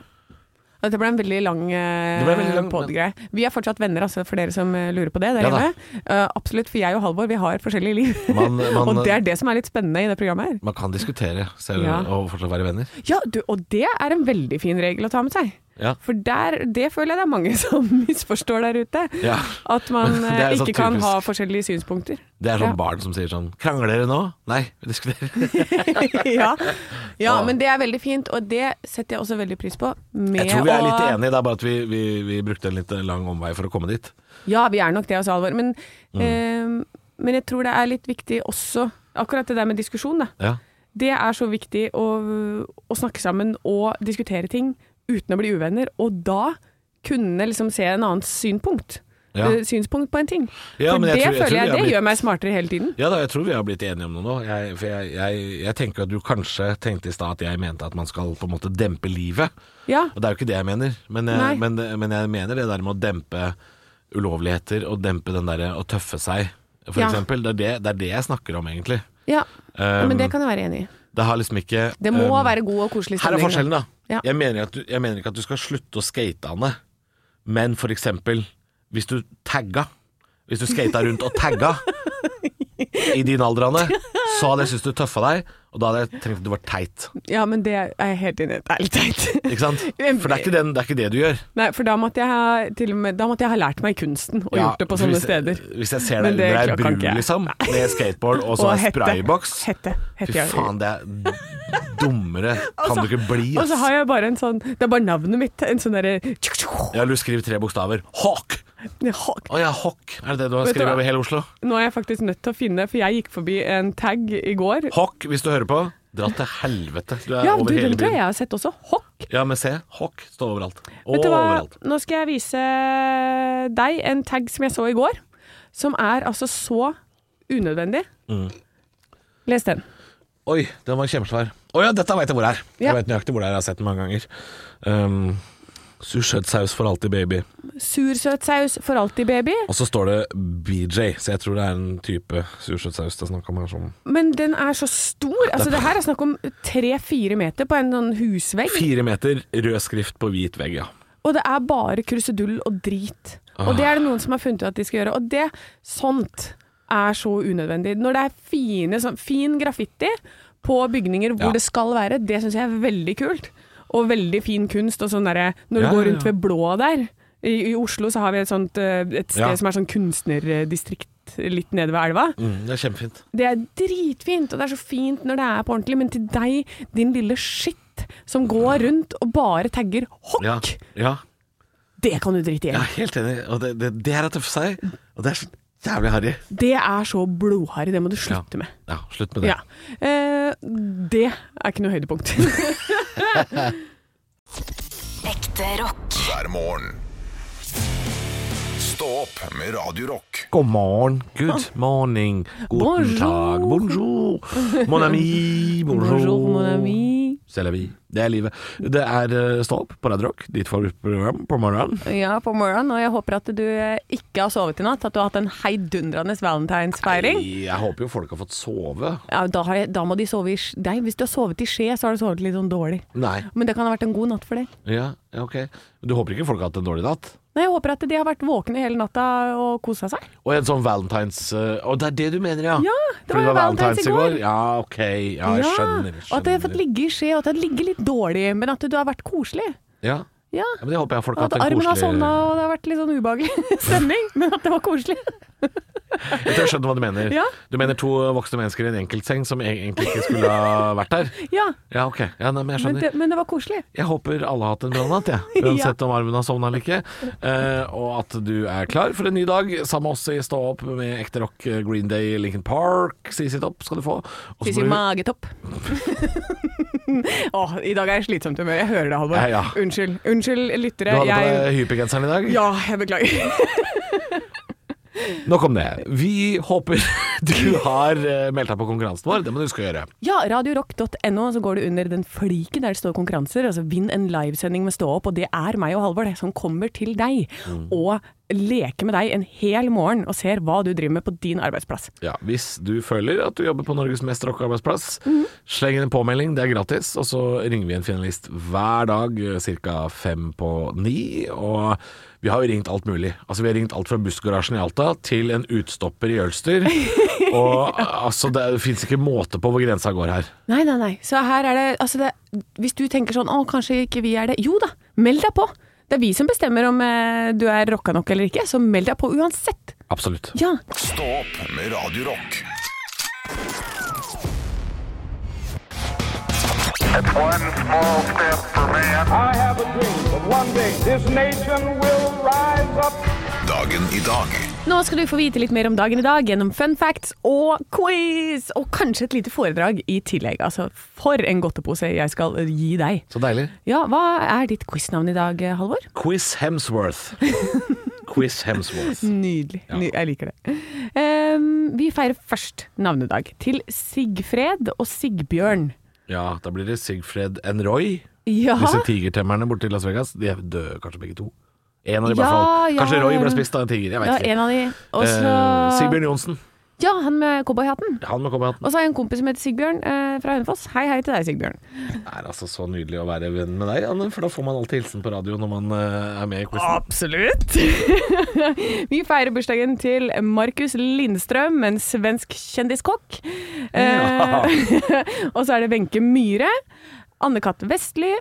S2: Dette ble en veldig lang, eh,
S3: Det ble veldig lang,
S2: podgreie. Vi er fortsatt venner, altså, for dere som eh, lurer på det der
S3: Ja da.
S2: hjemme. Eh, absolutt, for jeg og Halvor, vi har forskjellige liv. (laughs)
S3: Man- man-
S2: og det er det som er litt spennende i det programmet her.
S3: Man kan diskutere selv
S2: Ja.
S3: og fortsatt være venner.
S2: Ja, du, og det er en veldig fin regel å ta med seg.
S3: Ja.
S2: For der, det føler jeg det er mange (laughs) som misforstår der ute.
S3: Ja.
S2: At man
S3: (laughs) Det er
S2: eh,
S3: så
S2: ikke kan
S3: typisk.
S2: ha forskjellige synspunkter.
S3: Det er sånn
S2: Ja.
S3: barn som sier sånn Krangler dere nå? Nei,
S2: (laughs)
S3: vi diskuterer.
S2: ja. ja, men det er veldig fint, og det setter jeg også veldig pris på. Med
S3: Jeg tror vi er litt
S2: å-
S3: enige, det er bare at vi, vi, vi brukte en litt lang omvei for å komme dit.
S2: Ja, vi er nok det, altså, Alvor. Men,
S3: Mm.
S2: eh, men jeg tror det er litt viktig også, akkurat det der med diskusjon, da.
S3: Ja.
S2: Det er så viktig å, å snakke sammen og diskutere ting uten å bli uvenner, og da kunne liksom se en annens synpunkt.
S3: Ja.
S2: eh, synspunkt på en ting.
S3: Ja,
S2: For
S3: men jeg
S2: det
S3: tror- jeg tror
S2: føler jeg,
S3: vi har
S2: det
S3: blitt-
S2: gjør meg smartere hele tiden.
S3: Ja da, jeg tror vi har blitt enige om noe nå. Jeg, for jeg, jeg, jeg tenker at du kanskje tenkte i stad at jeg mente at man skal på en måte dempe livet.
S2: Ja.
S3: Og det er jo ikke det jeg mener, men
S2: Nei.
S3: jeg, men, men jeg mener det der med å dempe ulovligheter og dempe den derre å tøffe seg, for
S2: Ja.
S3: eksempel. Det er det, det er det jeg snakker om, egentlig.
S2: ja. ja
S3: Um,
S2: men det kan jeg være enig i.
S3: Det har liksom ikke
S2: Det må
S3: um,
S2: være god og koselig
S3: Her er
S2: stemning. da.
S3: forskjellen, da.
S2: Ja.
S3: Jeg, mener at du, jeg mener ikke at du skal slutte å skate, Anne. Men for eksempel, hvis du tagga Hvis du skata rundt og tagga i din alder, Anne, så hadde jeg syntes du tøffa deg, og da hadde jeg tenkt at du var teit.
S2: Ja, men det er jeg helt enig i. Det er litt teit.
S3: Ikke sant? For det er ikke, den, det, er ikke det du gjør.
S2: (laughs) Nei, for da måtte, jeg ha, til og med, da måtte jeg ha lært meg kunsten og
S3: Ja,
S2: gjort det på
S3: for
S2: sånne
S3: hvis,
S2: steder.
S3: Hvis jeg ser
S2: Men
S3: deg
S2: det
S3: under ei
S2: kan
S3: bru,
S2: ikke jeg.
S3: liksom, med skateboard og så
S2: Og
S3: en
S2: hette.
S3: sprayboks
S2: Hette. Hette,
S3: Fy
S2: ja.
S3: faen, det er dummere kan du ikke bli,
S2: (laughs) Og så
S3: ass.
S2: har jeg bare en sånn Det er bare navnet mitt. En sånn derre (laughs)
S3: Ja, du skriver tre bokstaver. Hawk! Å ja, Hawk. Er det det du har
S2: Vet du
S3: skrevet
S2: hva?
S3: over hele Oslo?
S2: Nå er jeg faktisk nødt til å finne, for jeg gikk forbi en tag i går.
S3: Hokk, hvis du hører på. Dra til helvete. Du er
S2: Ja, du,
S3: over
S2: den
S3: hele
S2: tror jeg
S3: byen.
S2: jeg har sett også. Hokk.
S3: Ja, men se. Hokk står overalt.
S2: Vet du hva?
S3: Overalt.
S2: Nå skal jeg vise deg en tag som jeg så i går, som er altså så unødvendig.
S3: Mm.
S2: Les den.
S3: Oi, den var kjempesvær. Å ja, dette veit jeg hvor det er.
S2: Ja.
S3: Jeg vet nøyaktig hvor det er. Jeg har sett den mange ganger. Um, Sursøt saus for alltid, baby.
S2: Sursøt saus for alltid, baby.
S3: Og så står det BJ, så jeg tror det er en type sursøt saus det er snakk om her. Som
S2: Men den er så stor. Altså, det her er snakk om tre-fire meter på en sånn husvegg.
S3: fire meter rød skrift på hvit vegg, ja.
S2: Og det er bare krusedull og drit. Og det er det noen som har funnet ut at de skal gjøre. Og det, sånt, er så unødvendig. Når det er fine, sånn, fin graffiti på bygninger hvor
S3: Ja.
S2: det skal være, det syns jeg er veldig kult. Og veldig fin kunst. Og sånn derre Når du
S3: Ja,
S2: går
S3: ja,
S2: rundt ved Blå der i, I Oslo så har vi et sånt eh, et sted
S3: Ja.
S2: som er sånn kunstnerdistrikt litt nede ved elva.
S3: Mm, det er kjempefint.
S2: Det er dritfint, og det er så fint når det er på ordentlig, men til deg, din lille skitt, som går rundt og bare tagger hokk,
S3: Ja, ja.
S2: det kan du drite i.
S3: Jeg er helt enig. Og det, det, det er å tøffe seg, og det er så jævlig harry.
S2: Det er så blodharry, det må du slutte med.
S3: Ja, slutt med det.
S2: Ja. Eh, det er ikke noe
S3: (laughs)
S2: høydepunkt.
S4: Ekte rock.
S1: hver morgen. Stå opp med Radio Rock.
S3: God morgen, good morning, guten
S2: Ah. Bonjour.
S3: tag, bonjour,
S2: (laughs)
S3: mon ami, bonjour, C'est la vie. Det er livet. Det er eh, Stå opp på Radio Rock, ditt favorittprogram på morgenen.
S2: Ja, på morgenen, og jeg håper at du eh, ikke har sovet i natt, at du har hatt en heidundrende valentinsfeiring.
S3: Jeg håper jo folk har fått sove.
S2: Ja, da, har jeg, da må de sove i Sk- Nei, hvis du har sovet i Skje, så har du sovet litt sånn dårlig.
S3: Nei.
S2: Men det kan ha vært en god natt for deg.
S3: Ja, ja, ok. Du håper ikke folk har hatt en dårlig natt?
S2: Nei, jeg håper at de har vært våkne hele natta og kosa seg.
S3: Og en sånn valentines... eh, Å, det er det du mener, ja?
S2: Ja, det
S3: Fordi
S2: var jo valentines i går.
S3: Ja, ok. Ja, jeg skjønner.
S2: Og at de har fått
S3: skjønner.
S2: ligge i Skje, og at det har ligget litt dårlig, men at du har vært koselig.
S3: Ja.
S2: Ja.
S3: ja, men det håper jeg folk
S2: Og
S3: har
S2: at
S3: hatt en
S2: armen har
S3: koselig...
S2: sovna, og det har vært litt sånn ubehagelig (laughs) stemning, men at det var
S3: (laughs)
S2: koselig.
S3: Jeg tror jeg skjønner hva du mener.
S2: (laughs) Ja.
S3: Du mener to voksne mennesker i en enkeltseng som e- egentlig ikke skulle ha vært der?
S2: Ja,
S3: Ja, ok. Ja, nei, men
S2: men
S3: jeg skjønner.
S2: det, men det var koselig.
S3: Jeg håper alle har hatt en bra natt,
S2: (laughs)
S3: jeg. Uansett om armen har sovna eller ikke. Eh, og at du er klar for en ny dag. Sammen med oss i Stå opp med ekte rock, eh, Green Day, Lincoln Park, Sisi Topp skal du få. Og så
S2: Spiser
S3: må du-
S2: magetopp. (laughs) Åh, i dag er jeg i slitsomt humør. Jeg hører det, Halvor.
S3: Ja, ja.
S2: Unnskyld. Unnskyld, lyttere.
S3: du hadde på
S2: Jeg
S3: deg hypergenseren i dag.
S2: Ja, jeg beklager.
S3: Nok om det. Vi håper (laughs) du har eh, meldt deg på konkurransen vår. Det må du huske å gjøre.
S2: Ja, radiorock.no, så går du under den fliken der det står konkurranser. Altså vinn en livesending med Stå opp, og det er meg og Halvor, det, som kommer til deg og leker med deg en hel morgen og ser hva du driver med på din arbeidsplass.
S3: Ja, Hvis du føler at du jobber på Norges mest rocka arbeidsplass, sleng inn en påmelding, det er gratis. Og så ringer vi en finalist hver dag ca. fem på ni. Og vi har jo ringt alt mulig. Altså Vi har ringt alt fra bussgarasjen i Alta til en utstopper i Jølster. og altså, det fins ikke måte på hvor grensa går her.
S2: Nei, nei, nei. Så her er det, altså det Hvis du tenker sånn Å, kanskje ikke vi er det. Jo da, meld deg på. Det er vi som bestemmer om eh, du er rocka nok eller ikke, så meld deg på uansett.
S3: Absolutt.
S2: Ja.
S1: Stå opp med Radio Rock.
S5: It's one small step for man.
S6: I have a dream that one day this nation will rise up.
S1: Dagen i dag
S2: Nå skal du få vite litt mer om dagen i dag gjennom fun facts og quiz, og kanskje et lite foredrag i tillegg. Altså, for en godtepose jeg skal gi deg.
S3: Så deilig.
S2: Ja, hva er ditt quiznavn i dag, Halvor?
S3: Quiz Hemsworth. Quiz Hemsworth.
S2: Nydelig. Ny- Jeg liker det. Ehm, vi feirer først navnedag til Sigfred og Sigbjørn.
S3: Ja, da blir det Sigfred and Roy.
S2: Ja,
S3: Disse tigertemmerne borte i Las Vegas. De er døde kanskje begge to. En av de i hvert
S2: Ja,
S3: fall.
S2: ja,
S3: Kanskje Roy
S2: ja.
S3: ble spist av en tiger. Jeg
S2: det
S3: vet
S2: var
S3: ikke.
S2: en av de. Og
S3: Eh,
S2: så
S3: Sigbjørn Johnsen.
S2: Ja, han med cowboyhatten.
S3: Han må komme igjen.
S2: Og så har jeg en kompis som heter Sigbjørn eh, fra Hønefoss. Hei, hei til deg, Sigbjørn.
S3: Det er altså så nydelig å være venn med deg, Anne, for da får man alltid hilsen på radio når man eh, er med i quizen.
S2: (laughs) Absolutt. vi feirer bursdagen til Markus Lindstrøm, en svensk kjendiskokk. Eh, (laughs) og så er det Wenche Myhre, Anne-Kat. Vestli,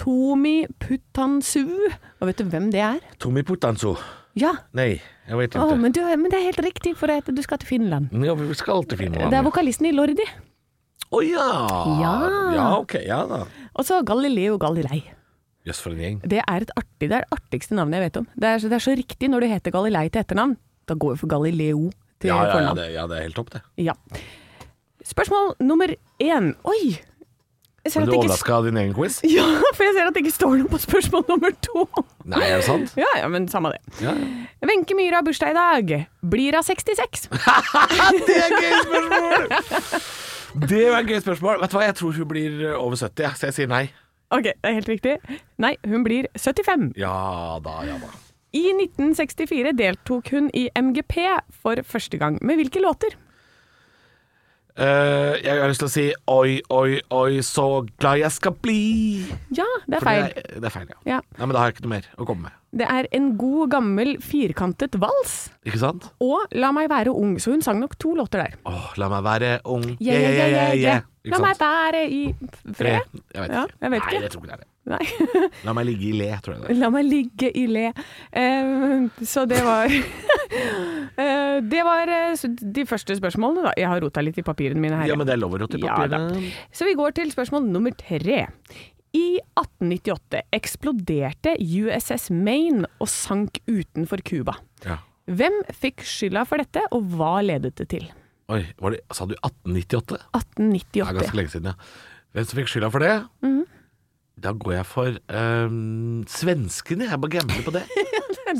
S2: Tomi Putansu. Og vet du hvem det er?
S3: Tommy Putanzo.
S2: Ja,
S3: Nei, jeg vet
S2: å,
S3: ikke.
S2: men, du, men det er helt riktig, for det heter du skal til Finland.
S3: Ja, vi skal til Finland.
S2: Det er vokalisten i Lordi.
S3: Å ja.
S2: Ja.
S3: Ja, ok. Ja da.
S2: Og så Galileo Galilei.
S3: Jøss, for en gjeng.
S2: Det er et artig, det er det artigste navnet jeg vet om. Det er, så- det er så riktig når du heter Galilei til etternavn. Da går vi for Galileo til
S3: Ja, ja, ja,
S2: fornavn.
S3: det, ja, det er helt topp, det.
S2: Ja. Spørsmål nummer én. Oi! Jeg ser,
S3: Men
S2: at
S3: du
S2: det ikke,
S3: overraska av din egen
S2: (laughs)
S3: quiz?
S2: ja, for jeg ser at det ikke står noe på spørsmål nummer to. (laughs)
S3: Nei, er det sant?
S2: Ja, ja, men samme det.
S3: Ja, ja.
S2: Wenche Myhre har bursdag i dag. Blir hun 66?
S3: Det er gøy spørsmål! Det var et gøy spørsmål. Vet du hva, jeg tror hun blir over 70, jeg, så jeg sier nei.
S2: (laughs) Ok, det er helt riktig. Nei, hun blir 75.
S3: Ja da, ja da.
S2: I 1964 deltok hun i MGP for første gang. Med hvilke låter?
S3: Eh, jeg har lyst til å si oi, oi, oi, så glad jeg skal bli.
S2: Ja, det er
S3: For
S2: feil.
S3: Det er, det er feil, ja.
S2: Ja,
S3: Nei, men da har jeg ikke noe mer å komme med.
S2: det er en god, gammel, firkantet vals.
S3: Ikke sant?
S2: Og La meg være ung, så hun sang nok to låter der.
S3: Åh, la meg være ung.
S2: Yeah, yeah, yeah, yeah, yeah.
S3: Ikke
S2: La meg
S3: sant?
S2: være i fred.
S3: Jeg vet
S2: Ja,
S3: ikke.
S2: jeg vet ikke.
S3: Nei, jeg tror ikke det er det.
S2: Nei. (laughs)
S3: La meg ligge i le, tror jeg det er.
S2: La meg ligge i le. Eh, så det var (laughs) Eh, Det var eh, så de første spørsmålene, da. Jeg har rota litt i papirene mine her.
S3: Ja, men det er lov å rote i
S2: Ja, da.
S3: papirene.
S2: Så vi går til spørsmål nummer tre. I 1898 eksploderte USS Maine og sank utenfor Cuba.
S3: Ja.
S2: Hvem fikk skylda for dette, og hva ledet det til?
S3: Oi, var det, sa du 1898? Det er
S2: 1898.
S3: ganske lenge siden, ja. Hvem som fikk skylda for det? Da går jeg for ehm, svenskene. Jeg bare gambler på (laughs) det.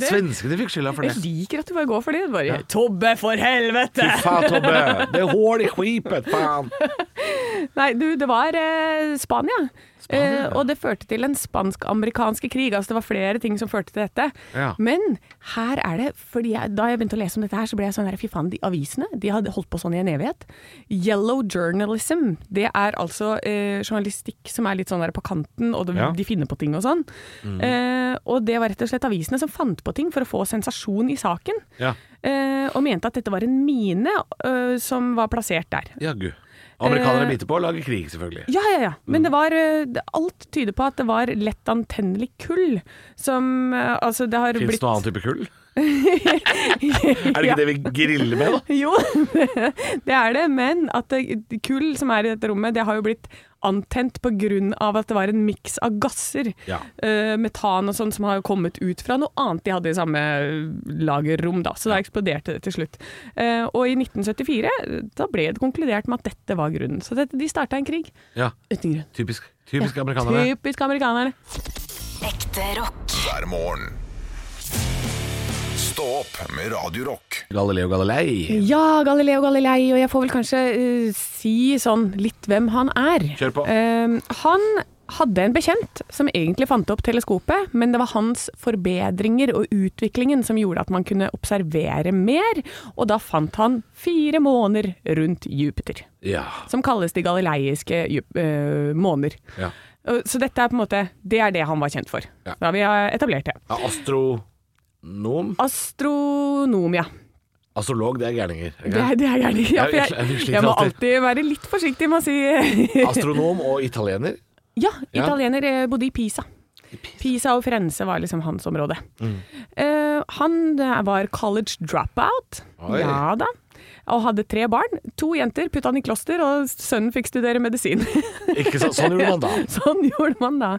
S3: Svenskene fikk skylda for det.
S2: Jeg liker at du bare går for det. Du bare Tobbe, for helvete!
S3: (laughs) Fy faen, Tobbe! Det er hull i skipet, faen!
S2: Nei, du, det var eh, Spania.
S3: Spania,
S2: Eh, og det førte til den spansk-amerikanske krig. Altså det var flere ting som førte til dette.
S3: Ja.
S2: Men her er det fordi jeg, Da jeg begynte å lese om dette, her, så ble jeg sånn her Fy faen, de avisene de hadde holdt på sånn i en evighet. Yellow journalism, det er altså eh, journalistikk som er litt sånn der på kanten, og det,
S3: Ja. Mm.
S2: de finner på ting og sånn. Eh, og det var rett og slett avisene som fant på ting for å få sensasjon i saken.
S3: Ja,
S2: Eh, og mente at dette var en mine eh, som var plassert der.
S3: jaggu. Amerikanere
S2: Eh,
S3: biter på og lager krig, selvfølgelig.
S2: Ja, ja, ja.
S3: Mm.
S2: Men det var eh, det- Alt tyder på at det var lett antennelig kull som eh, Altså, det har
S3: Fins
S2: blitt (laughs)
S3: det noen annen type kull? er det ikke det vi griller med, da?
S2: Jo, (laughs) det er det, men at det- kull som er i dette rommet, det har jo blitt antent på grunn av at det var en miks av gasser.
S3: Ja.
S2: Eh, metan og sånn som har kommet ut fra noe annet de hadde i samme eh, lagerrom, da. Så da eksploderte det til slutt. Eh, og i 1974 da ble det konkludert med at dette var grunnen. Så dette, de starta en krig
S3: (laughs) Ja,
S2: uten grunn.
S3: typisk, typisk amerikanere.
S2: Typisk amerikanerne.
S4: Ekte rock.
S1: hver morgen. Stå opp med Radio Rock.
S3: Galileo Galilei.
S2: Ja, Galileo Galilei, og jeg får vel kanskje eh, si sånn litt hvem han er.
S3: Kjør på.
S2: Eh, han hadde en bekjent som egentlig fant opp teleskopet, men det var hans forbedringer og utviklingen som gjorde at man kunne observere mer, og da fant han fire måneder rundt Jupiter,
S3: Ja.
S2: som kalles de galileiske ju- eh, måner.
S3: ja.
S2: Og- Så dette er på en måte, det er det han var kjent for.
S3: Ja.
S2: Da har vi har etablert det.
S3: Ja, Astronom
S2: Astronom, ja.
S3: Astrolog, det er gærninger. ikke
S2: Det er, det er gærent. Ja, for
S3: Jeg- jeg
S2: jeg,
S3: sliter
S2: jeg må
S3: alltid.
S2: alltid være litt forsiktig med å si
S3: Astronom og italiener.
S2: (laughs) Ja,
S3: Ja.
S2: italiener eh, bodde i Pisa. Pisa og Firenze var liksom hans område. Eh, han eh, var college dropout.
S3: Oi.
S2: Ja da. Og hadde tre barn. To jenter putta han i kloster, og sønnen fikk studere medisin. (laughs)
S3: Ikke sant? Sånn gjorde man da.
S2: sånn gjorde man da.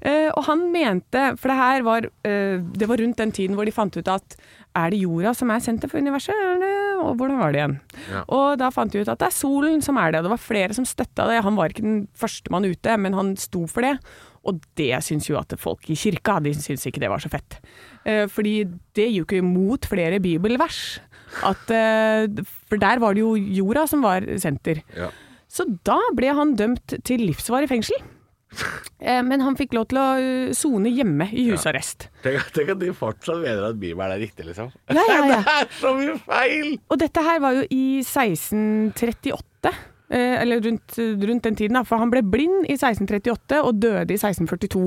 S2: Eh, og han mente, for det her var eh, Det var rundt den tiden hvor de fant ut at er det jorda som er senter for universet, eller og hvordan var det igjen?
S3: Ja.
S2: Og da fant de ut at det er solen som er det, og det var flere som støtta det. Han var ikke den første mann ute, men han sto for det. Og det syns jo at folk i kirka, de syns ikke det var så fett. Eh, fordi det gikk jo imot flere bibelvers. At, eh, for der var det jo jorda som var senter.
S3: Ja.
S2: Så da ble han dømt til livsvarig fengsel. Eh, Men han fikk lov til å eh, sone hjemme i husarrest.
S3: Tenk, tenk at de fortsatt mener at Bibelen er riktig, liksom.
S2: Ja, ja, ja.
S3: (laughs) Det er så mye feil!
S2: Og dette her var jo i 1638. eh, Eller rundt, rundt den tiden, da, for han ble blind i 1638 og døde i 1642.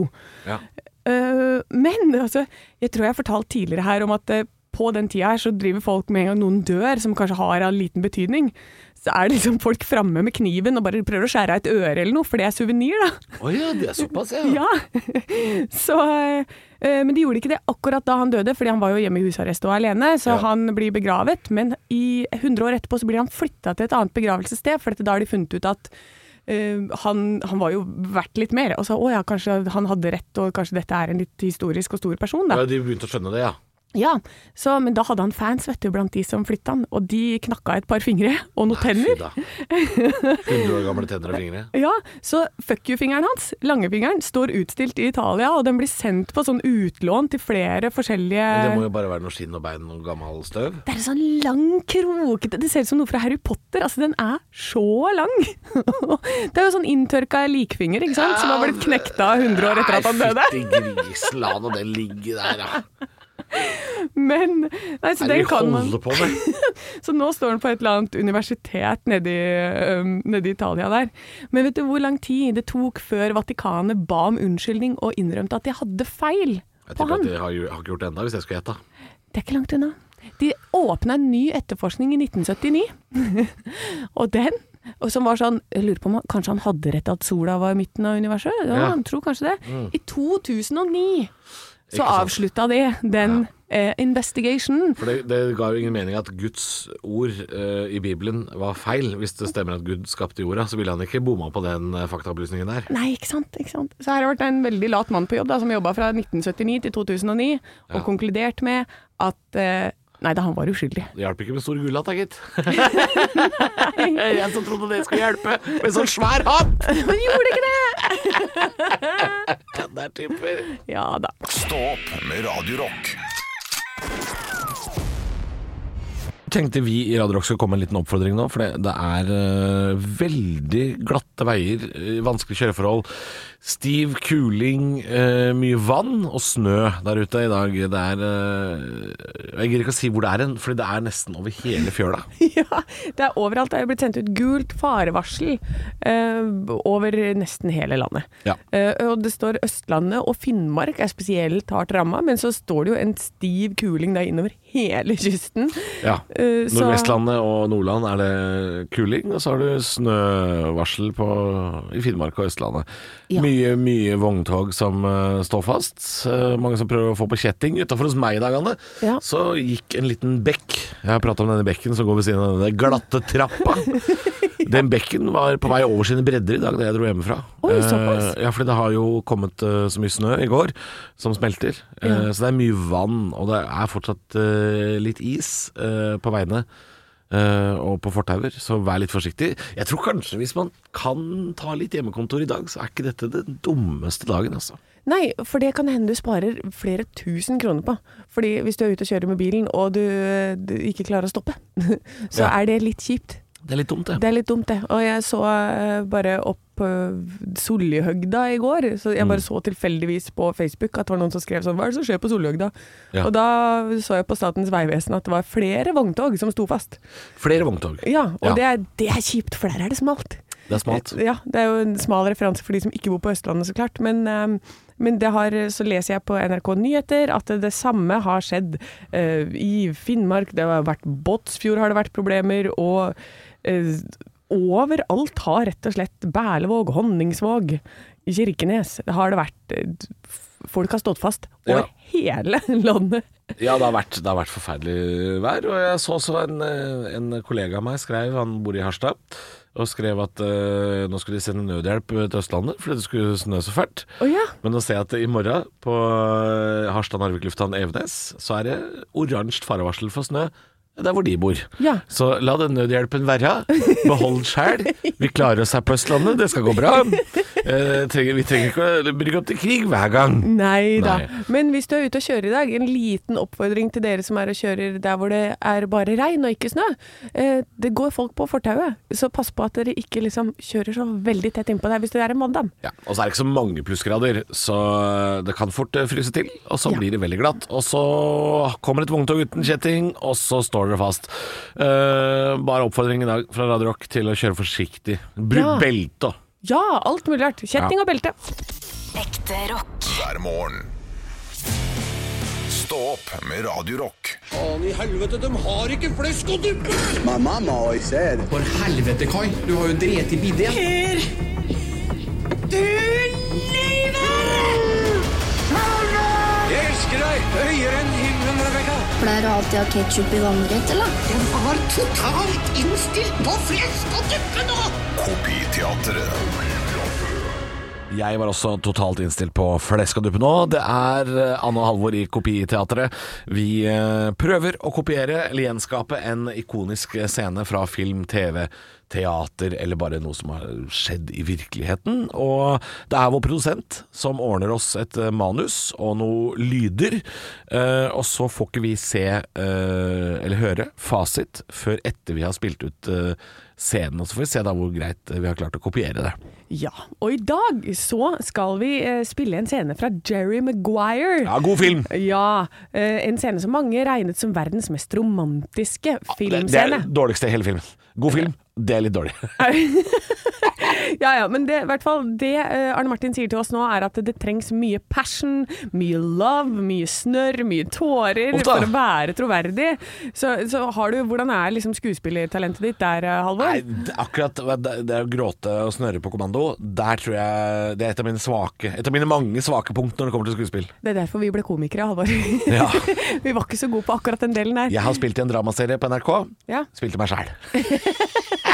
S3: Ja.
S2: Eh, men altså, jeg tror jeg har fortalt tidligere her om at eh, på den tida her så driver folk med en gang noen dør som kanskje har av liten betydning. Så er det liksom folk framme med kniven og bare prøver å skjære av et øre eller noe, for det er suvenir, da.
S3: Å ja, det er såpass,
S2: (laughs) Ja. Så, eh, men de gjorde ikke det akkurat da han døde, fordi han var jo hjemme i husarrest og alene, så
S3: Ja.
S2: han blir begravet. Men i 100 år etterpå så blir han flytta til et annet begravelsessted, for dette, da har de funnet ut at eh, han, han var jo verdt litt mer. Og så å ja, kanskje han hadde rett, og kanskje dette er en litt historisk og stor person, da.
S3: Ja, de begynte å skjønne det, ja.
S2: Ja, så, Men da hadde han fans vet du, blant de som flytta han, og de knakka et par fingre og noen tenner. (laughs)
S3: Da. 100 år gamle tenner og fingre.
S2: Ja, så fuck you-fingeren hans, langefingeren, står utstilt i Italia, og den blir sendt på sånn utlån til flere forskjellige
S3: Men det må jo bare være noe skinn og bein og gammel støv.
S2: Det er en sånn lang, krokete Det ser ut som noe fra Harry Potter. Altså, den er så lang! (laughs) det er jo sånn inntørka likfinger, ikke sant, som har blitt knekta 100 år etter at han døde.
S3: Nei, fytti grisen, la nå det ligge der, da.
S2: Men nei, så
S3: Hva
S2: (laughs)
S3: er det
S2: den
S3: vi
S2: kan man.
S3: holder på
S2: (laughs)
S3: med?
S2: Så nå står han på et eller annet universitet nede i, øhm, nede i Italia der. Men vet du hvor lang tid det tok før Vatikanet ba om unnskyldning og innrømte at de hadde feil
S3: Jeg
S2: på
S3: tipper at
S2: han?
S3: de har, jo- har ikke gjort det ennå, hvis jeg skulle gjette.
S2: Det er ikke langt unna. De åpna en ny etterforskning i 1979, (laughs) og den og som var sånn, jeg lurer på om han, Kanskje han hadde rett at sola var i midten av universet? Ja, Mm.
S3: Ja.
S2: han tror kanskje det. I 2009
S3: Ikke
S2: så
S3: sant.
S2: avslutta de den eh, investigationen.
S3: For det, det ga jo ingen mening at Guds ord eh, i Bibelen var feil. Hvis det stemmer at Gud skapte jorda, så ville han ikke bomma på den eh, faktaopplysningen der.
S2: Nei, ikke sant, ikke sant. Så her har det vært en veldig lat mann på jobb, da, som jobba fra 1979 til 2009, og konkludert med at eh, Nei da, han var uskyldig. (laughs)
S3: Det hjalp ikke med stor gullhatt, da, gitt. (laughs) jeg som trodde det skulle hjelpe med sånn svær hatt!
S2: Men gjorde ikke det!
S3: Det er typer.
S2: Ja da.
S1: Stå opp med Radio Rock.
S3: Tenkte vi i Radio Rock skulle komme med en liten oppfordring nå, for det, det er eh, veldig glatte veier, eh, vanskelige kjøreforhold, stiv kuling, eh, mye vann og snø der ute i dag. Det er eh, Jeg gidder ikke å si hvor det er hen, fordi det er nesten over hele fjøla.
S2: (laughs) Ja, det er overalt. Det er blitt sendt ut gult farevarsel eh, over nesten hele landet.
S3: Ja.
S2: Eh, og det står Østlandet og Finnmark er spesielt hardt ramma, men så står det jo en stiv kuling da innover hele kysten.
S3: Ja.
S2: Eh, så-
S3: Nordvestlandet og Nordland er det kuling, og så har du snøvarsel på, i Finnmark og Østlandet.
S2: Ja.
S3: Mye, mye vogntog som eh, står fast. Eh, mange som prøver å få på kjetting. Utafor hos meg i dag, Anne,
S2: Ja.
S3: så gikk en liten bekk. Jeg har prata om denne bekken som går ved siden av denne glatte
S2: (laughs)
S3: trappa. Den bekken var på vei over sine bredder i dag da jeg dro hjemmefra.
S2: Oi, såpass.
S3: Eh, ja, fordi det har jo kommet eh, så mye snø i går som smelter. Eh, Så det er mye vann, og det er fortsatt eh, litt is eh, på veiene. eh, og på fortauer, så vær litt forsiktig. Jeg tror kanskje hvis man kan ta litt hjemmekontor i dag, så er ikke dette den dummeste dagen, altså.
S2: Nei, for det kan hende du sparer flere tusen kroner på. Fordi hvis du er ute og kjører med bilen og du, eh, du ikke klarer å stoppe, (laughs) så
S3: Ja.
S2: er det litt kjipt.
S3: Det er litt dumt, det.
S2: Det er litt dumt, det. Og jeg så eh, bare opp eh, Sollihøgda i går. Så jeg
S3: Mm.
S2: bare så tilfeldigvis på Facebook at det var noen som skrev sånn Hva er det som skjer på Sollihøgda?
S3: Ja.
S2: Og da så jeg på Statens vegvesen at det var flere vogntog som sto fast.
S3: Flere vogntog.
S2: Ja, og
S3: Ja.
S2: Det, er, det er kjipt, for der er det smalt.
S3: Det er smalt.
S2: Ja, det er jo en smal referanse for de som ikke bor på Østlandet, så klart. Men, eh, men det har, så leser jeg på NRK Nyheter at det samme har skjedd eh, i Finnmark. Det har vært Båtsfjord har det vært problemer, og eh, overalt har rett og slett Berlevåg, Honningsvåg, Kirkenes har det vært eh, f- Folk har stått fast over hele (laughs) landet.
S3: Ja, det har, vært, det har vært forferdelig vær. Og jeg så også en, eh, en kollega av meg skrev, han bor i Harstad, og skrev at eh, nå skulle de sende nødhjelp eh, til Østlandet fordi det skulle snø så fælt.
S2: Å ja.
S3: Men nå ser jeg at i morgen på eh, Harstad Narvik lufthavn Evenes, så er det oransje farevarsel for snø der hvor de bor.
S2: Ja.
S3: Så la den nødhjelpen være. Behold sjæl. Vi klarer oss her på Østlandet, det skal gå bra. Eh, trenger, vi trenger ikke å brygge opp til krig hver gang.
S2: Nei da.
S3: Nei.
S2: Men hvis du er ute og kjører i dag, en liten oppfordring til dere som er og kjører der hvor det er bare regn og ikke snø. Eh, det går folk på fortauet, så pass på at dere ikke liksom kjører så veldig tett innpå der hvis det er en vanndam.
S3: Ja, og så er det ikke så mange plussgrader, så det kan fort eh, fryse til, og så
S2: Ja.
S3: blir det veldig glatt. Og så kommer et vogntog uten kjetting, og så står dere fast. Eh, bare oppfordring i dag fra Radio Rock til å kjøre forsiktig. Bruk
S2: Ja.
S3: belte.
S2: Ja, alt mulig rart. Kjetting og belte.
S4: Ekte rock.
S1: hver morgen. Stå opp med Radio Rock.
S7: My mama always said,
S8: For helvete, Kai. Du har jo dret i bidé.
S9: Pleier du er alltid å ha ketsjup i vannrett, eller?
S1: Kopiteatret.
S3: Jeg var også totalt innstilt på flesk og duppe nå. Det er eh, Anne og Halvor i Kopiteatret. Vi eh, prøver å kopiere eller gjenskape en ikonisk scene fra film, TV, teater eller bare noe som har skjedd i virkeligheten. Og det er vår produsent som ordner oss et eh, manus og noe lyder. eh, Og så får ikke vi se eh, eller høre fasit før etter vi har spilt ut eh, scenen. Og så får vi se da hvor greit eh, vi har klart å kopiere det.
S2: Ja. Og i dag så skal vi eh, spille en scene fra Jerry Maguire.
S3: Ja, god film!
S2: Ja, eh, en scene som mange regnet som verdens mest romantiske
S3: Det, det er det
S2: filmscene.
S3: dårligste i hele filmen. God film, det er litt dårlig.
S2: Ja, ja, men det, i hvert fall, det eh, Arne Martin sier til oss nå, er at det trengs mye passion, mye love, mye snørr, mye tårer
S3: Ofte.
S2: for å være troverdig. Så, så har du, hvordan er liksom skuespillertalentet ditt der, eh, Halvor?
S3: Nei, det, akkurat det det å gråte og snørre på kommando, der tror jeg det er et av mine svake Et av mine mange svake punkt når det kommer til skuespill.
S2: Det er derfor vi ble komikere, Halvor.
S3: Ja.
S2: (laughs) vi var ikke så gode på akkurat den delen der.
S3: Jeg har spilt i en dramaserie på NRK.
S2: Ja.
S3: Spilte meg sjæl.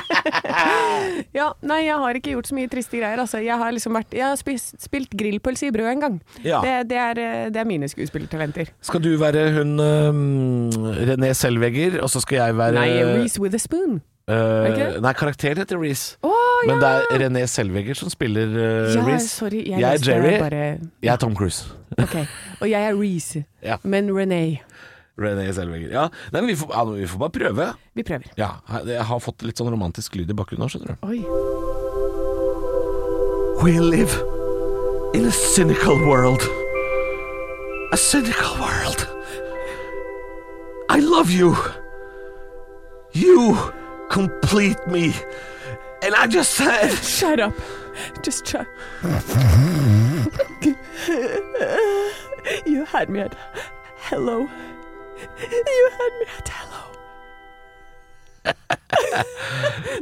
S2: Ja, nei, jeg har ikke gjort så mye triste greier, altså. Jeg har liksom vært Jeg har spist, spilt grillpølse i brød en gang.
S3: Ja.
S2: Det, det, er, eh, det er mine skuespillertalenter.
S3: Skal du være hun øhm, René Selvegger, og så skal jeg være
S2: Nei, Reece with a spoon.
S3: øh,
S2: ikke det?
S3: Nei, karakteren heter Reece.
S2: Å, ja!
S3: Men det er René Selvegger som spiller øh,
S2: ja,
S3: Reece.
S2: sorry. Jeg,
S3: jeg er
S2: leste
S3: Jerry.
S2: Bare
S3: Jeg er Tom Cruise.
S2: Ok, og jeg er Reese,
S3: Ja.
S2: men René.
S3: René Selvegger. Ja. Nei, men vi, får, ja, vi får bare prøve.
S2: Vi prøver.
S3: Ja, jeg har fått litt sånn romantisk lyd i bakgrunnen nå, skjønner du.
S2: Oi.
S8: We live in a cynical world. A cynical world. I love you. You complete me. And I just said,
S2: Shut up. Just shut You had me at hello. You had me at hello.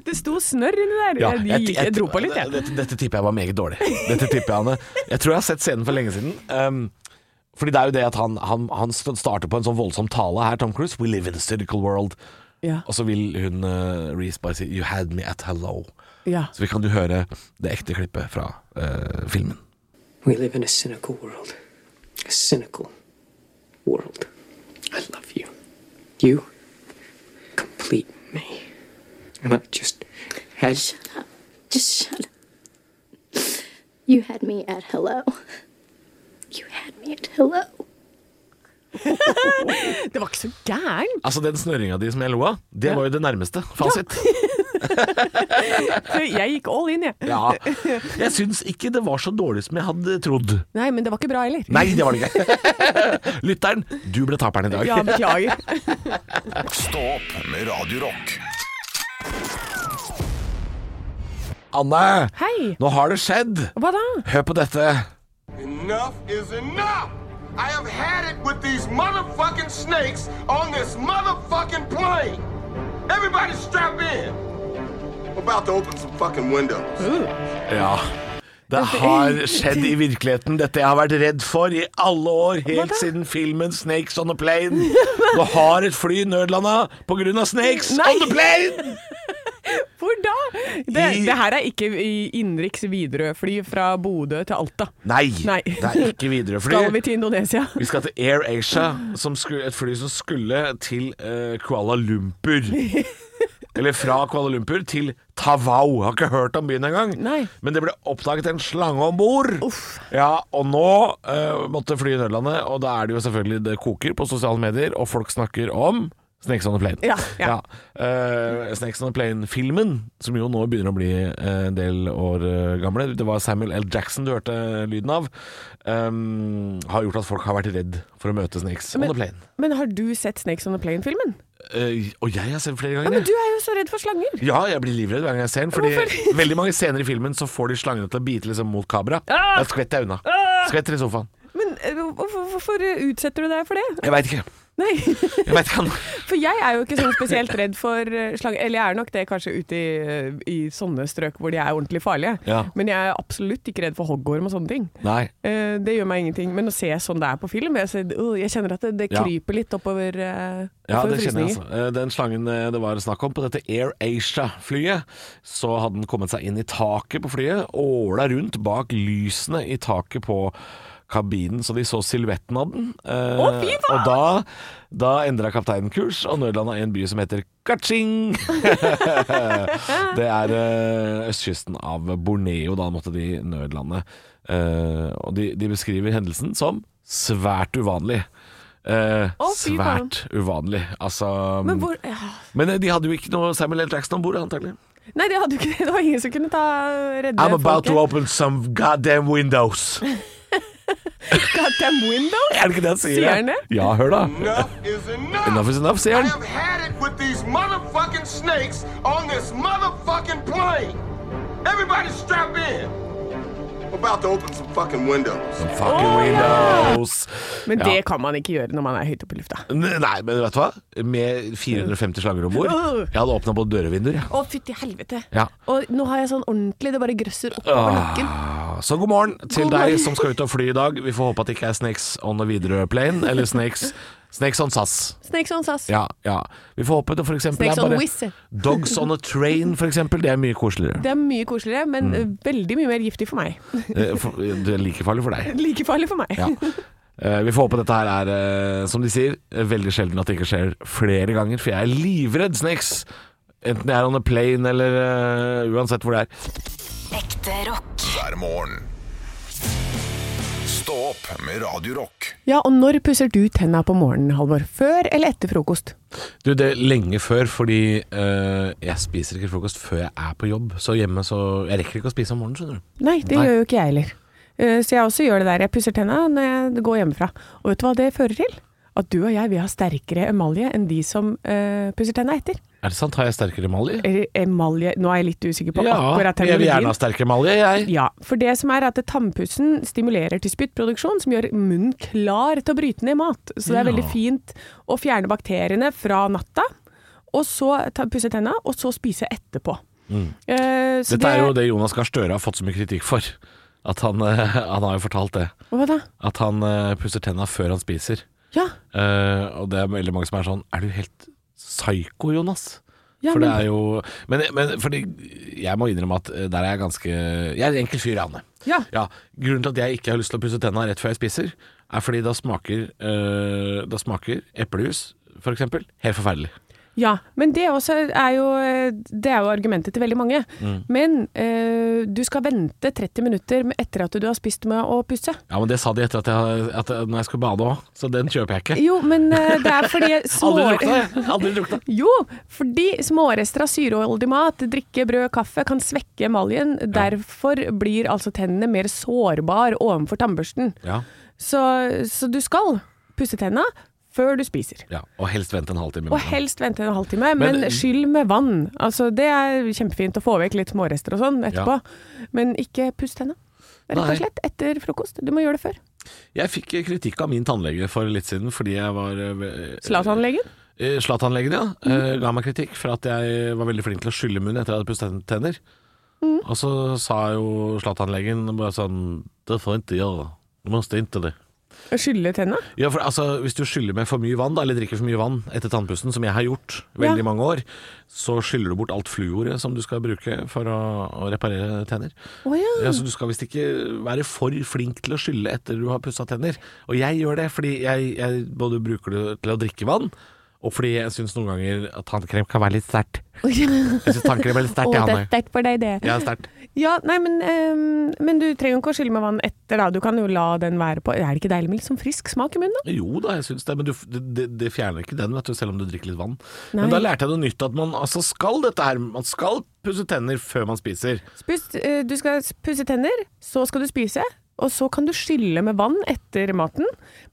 S2: det sto snørr inni der. jeg, jeg, jeg dro på litt, jeg.
S3: Dette, dette tipper jeg var meget dårlig. Dette tipper jeg, Anne. Jeg tror jeg har sett scenen for lenge siden. Um, fordi det er jo det at han, han, han st- starter på en sånn voldsom tale her, Tom Cruise. We live in a cynical world.
S2: Ja.
S3: Og så vil hun uh, Reece bare si You had me at hello.
S2: ja.
S3: Så vi kan jo høre det ekte klippet fra eh, filmen.
S10: We live in a cynical world. A cynical world. I love you. You complete me. And I just had
S9: Just shut up. You had me at hello. You had me at hello.
S2: Det var ikke så gærent.
S3: Altså Den snørringa di som jeg lo av, det var jo det nærmeste fasit.
S2: Jeg gikk all in, jeg. (laughs)
S3: Ja. Jeg syns ikke det var så dårlig som jeg hadde trodd.
S2: Nei, men det var ikke bra heller.
S3: Nei, det var det ikke. (laughs) Lytteren, du ble taperen i dag.
S2: Ja, beklager.
S1: Stå opp med Radio Rock.
S3: Anne,
S2: Hei.
S3: nå har det skjedd.
S2: Hva da?
S3: Hør på dette.
S5: Enough is enough! I have had it with these motherfucking snakes on this motherfucking plane! Everybody strap in! I'm about to open some fucking windows.
S3: Ja. Det har skjedd i virkeligheten, dette jeg har vært redd for i alle år, helt siden filmen 'Snakes on a
S2: (laughs)
S3: Plane'. Nå har et fly nødlanda pga. 'Snakes
S2: Nei.
S3: on the Plane'!
S2: Hvor da? Det, det her er ikke i innenriks Widerøe-fly fra Bodø til Alta.
S3: Nei,
S2: Nei.
S3: det er ikke Widerøe-fly.
S2: Skal vi til Indonesia?
S3: Vi skal til Air Asia, som skulle, et fly som skulle til eh,
S2: (laughs)
S3: Kuala Lumpur. Eller fra Kuala Lumpur til Tawau. Har ikke hørt om byen engang.
S2: Nei.
S3: Men det ble oppdaget en slange om bord. Ja, og nå eh, måtte flyet nødlande, og da er det jo selvfølgelig det koker på sosiale medier, og folk snakker om Snakes on a Plane.
S2: Ja, ja.
S3: Eh, Snakes on a Plane-filmen, som jo nå begynner å bli eh, en del år eh, gamle, det var Samuel L. Jackson du hørte lyden av, ehm, har gjort at folk har vært redd for å møte Snakes on a Plane.
S2: Men har du sett Snakes on a Plane-filmen?
S3: Eh, og jeg har sett den flere
S2: Ja,
S3: ganger.
S2: men
S3: jeg.
S2: du er jo så redd for slanger.
S3: Ja, jeg blir livredd hver gang jeg ser den. Fordi
S2: (laughs)
S3: veldig mange scener i filmen så får de slangene til å bite liksom mot kamera.
S2: Ah!
S3: Da skvetter jeg unna. Skvetter i sofaen.
S2: Men eh, hvorfor, hvorfor utsetter du deg for det?
S3: Jeg veit ikke.
S2: Nei,
S3: Jeg vet ikke han.
S2: for jeg er jo ikke sånn spesielt redd for eh, slanger. Eller jeg er nok det kanskje ute i, eh, i sånne strøk hvor de er ordentlig farlige.
S3: Ja.
S2: Men jeg er absolutt ikke redd for hoggorm og sånne ting.
S3: Nei.
S2: Eh, det gjør meg ingenting. Men å se sånn det er på film, jeg, ser, åh, jeg kjenner at det, det
S3: Ja.
S2: kryper litt oppover, uh,
S3: Ja,
S2: oppover
S3: det kjenner jeg
S2: frysninger.
S3: altså. Eh, Den slangen eh, det var snakk om på dette Air Asia-flyet, så hadde den kommet seg inn i taket på flyet, åla rundt bak lysene i taket på kabinen, så de så silhuetten av den. Eh,
S2: Å, fy faen!
S3: og da, da endra kapteinen kurs og nødlanda i en by som heter Kaching. (laughs) det er eh, østkysten av Borneo. Da måtte de nødlande. Eh, og de, de beskriver hendelsen som svært uvanlig. Eh,
S2: Å, fy faen.
S3: svært uvanlig. Altså
S2: Men hvor ja.
S3: men eh, de hadde jo ikke noe Samuel L. Jackson om bord, antagelig.
S2: Nei, det hadde jo ikke (laughs) det. Det var ingen som kunne ta redde
S3: I'm about to
S2: folket.
S3: open some goddamn windows.
S2: (laughs) Goddamn windows!
S3: Er det ikke det han sier?
S2: Sier han det?
S3: Ja, hør da.
S5: Enough is enough.
S3: Enough is enough, sier
S5: I
S3: han.
S5: have had it with these motherfucking snakes on this motherfucking plane. Everybody strap in. I'm about to open some fucking windows.
S3: Fucking windows.
S2: Men
S3: Ja.
S2: det kan man ikke gjøre når man er høyt oppe i lufta.
S3: N- Nei, men vet du hva? Med 450 slanger om bord.
S2: Øh.
S3: Jeg hadde åpna både dørvinduer, jeg.
S2: Å, fytti helvete.
S3: Ja.
S2: Og nå har jeg sånn ordentlig, det bare grøsser oppover nakken.
S3: Ah, Så god morgen til
S2: God
S3: deg
S2: morgen.
S3: som skal ut og fly i dag. Vi får håpe at det ikke er Snakes on a Widerøe plane, eller Snakes, snakes on SAS.
S2: Snakes on SAS.
S3: Ja, ja. Vi får håpe det for eksempel
S2: Snakes
S3: er
S2: on
S3: bare
S2: Wizz.
S3: Dogs on a train, for eksempel. Det er mye koseligere.
S2: Det er mye koseligere,
S3: Mm.
S2: men eh, veldig mye mer giftig for meg. (laughs)
S3: Eh, for- Det er like farlig for deg.
S2: Like farlig for meg.
S3: Ja. Eh, Vi får håpe dette her er, eh, som de sier, eh, veldig sjelden at det ikke skjer flere ganger, for jeg er livredd snakes. Enten jeg er on a plane eller eh, uansett hvor det er.
S4: Ekte rock.
S1: hver morgen. Stå opp med Radio Rock.
S2: Ja, og når pusser du tenna på morgenen, Halvor? Før eller etter frokost?
S3: Du, det er lenge før, fordi eh, jeg spiser ikke frokost før jeg er på jobb. Så hjemme så Jeg rekker ikke å spise om morgenen, skjønner du.
S2: Nei, det
S3: Nei.
S2: gjør jo ikke jeg heller. Eh, Så jeg også gjør det der. Jeg pusser tenna når jeg går hjemmefra. Og vet du hva det fører til? At du og jeg vi har sterkere emalje enn de som eh, pusser tenna etter.
S3: Er det sant? Har jeg sterkere emalje?
S2: Eller emalje Nå er jeg litt usikker på
S3: Ja,
S2: akkurat
S3: jeg vil gjerne
S2: terminologien.
S3: altså. ha sterkere emalje, jeg.
S2: Ja, for det som er at tannpussen stimulerer til spyttproduksjon, som gjør munnen klar til å bryte ned mat. Så det er
S3: Ja.
S2: veldig fint å fjerne bakteriene fra natta, og så ta, pusse tenna, og så spise etterpå. Eh, så
S3: Mm. Dette er jo det Jonas Gahr Støre har fått så mye kritikk for. At han, eh, (laughs) han har jo fortalt det.
S2: Hva da?
S3: At han eh, pusser tenna før han spiser.
S2: Ja,
S3: Eh, og det er veldig mange som er sånn Er du helt psyko, Jonas?
S2: ja
S3: for det
S2: men-
S3: er jo Men, men fordi jeg må innrømme at eh, der er jeg ganske Jeg er en enkel fyr, Anne.
S2: Ja.
S3: grunnen til at jeg ikke har lyst til å pusse tenna rett før jeg spiser, er fordi da smaker eh, Da smaker eplejus, for eksempel, helt forferdelig.
S2: Ja, men det, også er jo, det er jo argumentet til veldig mange. Men eh, du skal vente 30 minutter med- etter at du har spist med å pusse.
S3: Ja, men det sa de etter at jeg, at jeg, når jeg skulle bade òg, så den kjøper jeg ikke.
S2: Jo, men eh, det er fordi
S3: Aldri
S2: små-
S3: lukta, jeg. Aldri lukta.
S2: Jo, fordi smårester av syreholdig mat, drikke, brød, kaffe kan svekke emaljen. Derfor blir altså tennene mer sårbar overfor tannbørsten.
S3: Ja,
S2: Så, så du skal pusse tenna før du spiser.
S3: ja. Og helst vente en halvtime.
S2: Og helst vente en halvtime, men,
S3: Men- eh,
S2: skyll med vann. Altså, det er kjempefint å få vekk litt smårester og sånn etterpå, men ikke puss tenna. Rett
S3: Nei.
S2: og slett etter frokost. Du må gjøre det før.
S3: Jeg fikk eh, kritikk av min tannlege for litt siden fordi jeg var eh,
S2: Zlatan-legen.
S3: Eh, Zlatan-legen, ja. eh, Ga meg kritikk for at jeg var veldig flink til å skylle munnen etter at jeg hadde pusset tenner. Og så sa jo Zlatan-legen bare sånn Det får jeg ikke gjøre. Du må ikke det.
S2: Skylle tenna?
S3: Ja, for altså, Hvis du skyller med for mye vann, da, eller drikker for mye vann etter tannpussen, som jeg har gjort veldig
S2: Ja.
S3: mange år, så skyller du bort alt fluoret som du skal bruke for å, å reparere tenner.
S2: Å ja.
S3: (laughs) Ja, så Du skal visst ikke være for flink til å skylle etter du har pussa tenner. Og jeg gjør det fordi jeg, jeg både bruker det til å drikke vann, og fordi jeg syns noen ganger at tannkrem kan være litt sterkt. Jeg syns tannkrem er litt
S2: (laughs)
S3: sterkt, jeg, Hanne.
S2: sterkt for deg, det.
S3: Ja, sterkt.
S2: Ja, nei, men, ehm, men du trenger jo ikke å skylle med vann etter, da. Du kan jo la den være på Er det ikke deilig med litt sånn frisk smak i munnen, da?
S3: Jo da, jeg syns det, men du, det, det- det fjerner ikke den, vet du, selv om du drikker litt vann. Men
S2: Nei.
S3: da lærte jeg noe nytt, at man altså skal dette her. Man skal pusse tenner før man spiser.
S2: Spis, eh, du skal pusse tenner, så skal du spise, og så kan du skylle med vann etter maten,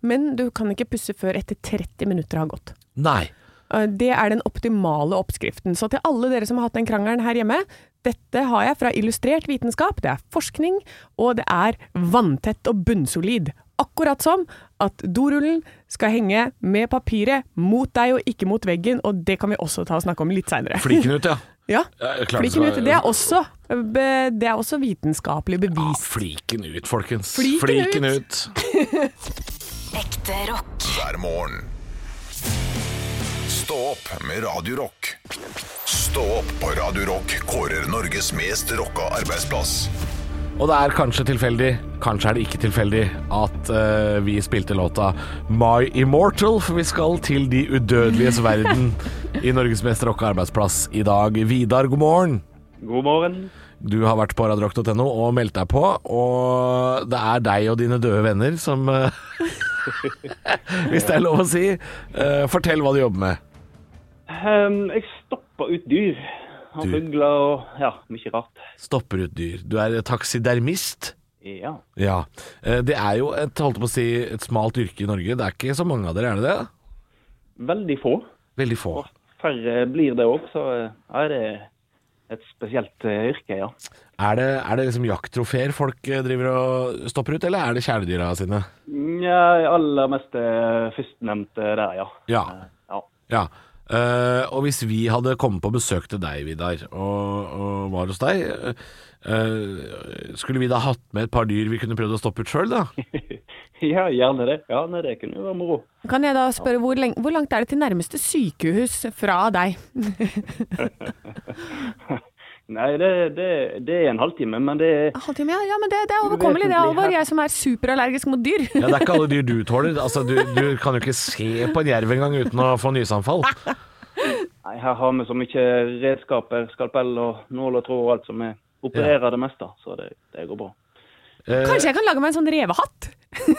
S2: men du kan ikke pusse før etter 30 minutter har gått.
S3: Nei.
S2: Eh, Det er den optimale oppskriften. Så til alle dere som har hatt den krangelen her hjemme, dette har jeg fra illustrert vitenskap, det er forskning, og det er vanntett og bunnsolid. Akkurat som at dorullen skal henge med papiret mot deg og ikke mot veggen, og det kan vi også ta og snakke om litt seinere.
S3: Flikkenut, ja.
S2: (laughs) Ja.
S3: Ja, klart
S2: Fliken
S3: det
S2: ut.
S3: skal-
S2: Det er også, be- det er også vitenskapelig
S3: Ja,
S2: bevis.
S3: fliken ut, folkens.
S2: Fliken
S3: ut.
S4: Ekte rock.
S1: hver morgen. Stå opp med Radio Rock. Stå opp på Radio Rock kårer Norges mest rocka arbeidsplass.
S3: Og det er kanskje tilfeldig, kanskje er det ikke tilfeldig, at eh, vi spilte låta My Immortal, for vi skal til de udødeliges verden i Norges mest rocka arbeidsplass i dag. Vidar, god morgen.
S11: God morgen.
S3: Du har vært på radiorock.no og meldt deg på, og det er deg og dine døde venner som, eh, (laughs) hvis det er lov å si, eh, fortell hva du jobber med.
S11: Ehm, jeg stoppa ut dyr. Han
S3: Dyr.
S11: fugler og ja, mye rart.
S3: Stopper ut dyr. Du er taksidermist.
S11: Ja.
S3: Ja. Eh, Det er jo et, holdt på å si, et smalt yrke i Norge. Det er ikke så mange av dere, er det det?
S11: Veldig få.
S3: Veldig få.
S11: Færre blir det òg, så eh, ja, det er et spesielt eh, yrke, ja.
S3: Er det, er det liksom jakttrofeer folk eh, driver og stopper ut, eller er det kjæledyra sine?
S11: Nja, aller mest eh, førstnevnte der, ja.
S3: Ja.
S11: ja. (laughs)
S3: ja. Eh, og hvis vi hadde kommet på besøk til deg, Vidar, og, og var hos deg, eh, eh, skulle vi da hatt med et par dyr vi kunne prøvd å stoppe ut sjøl, da?
S11: Ja, gjerne det. Ja, nei, det kunne jo være moro.
S2: Kan jeg da spørre, hvor, lenge, hvor langt er det til nærmeste sykehus fra deg?
S11: Nei, det, det, det er en halvtime, men det er
S2: Halvtime, ja. ja men det, det er overkommelig, det, Alvor. Jeg som er superallergisk mot dyr.
S3: Ja, Det er ikke alle dyr du tåler. Altså, du, du kan jo ikke se på en jerv engang uten å få nysanfall.
S11: Nei, her har vi så mye redskaper, skalpell og nål og tråd og alt, så vi opererer det meste. Så det, det går bra.
S3: Eh,
S2: Kanskje jeg kan lage meg en sånn revehatt?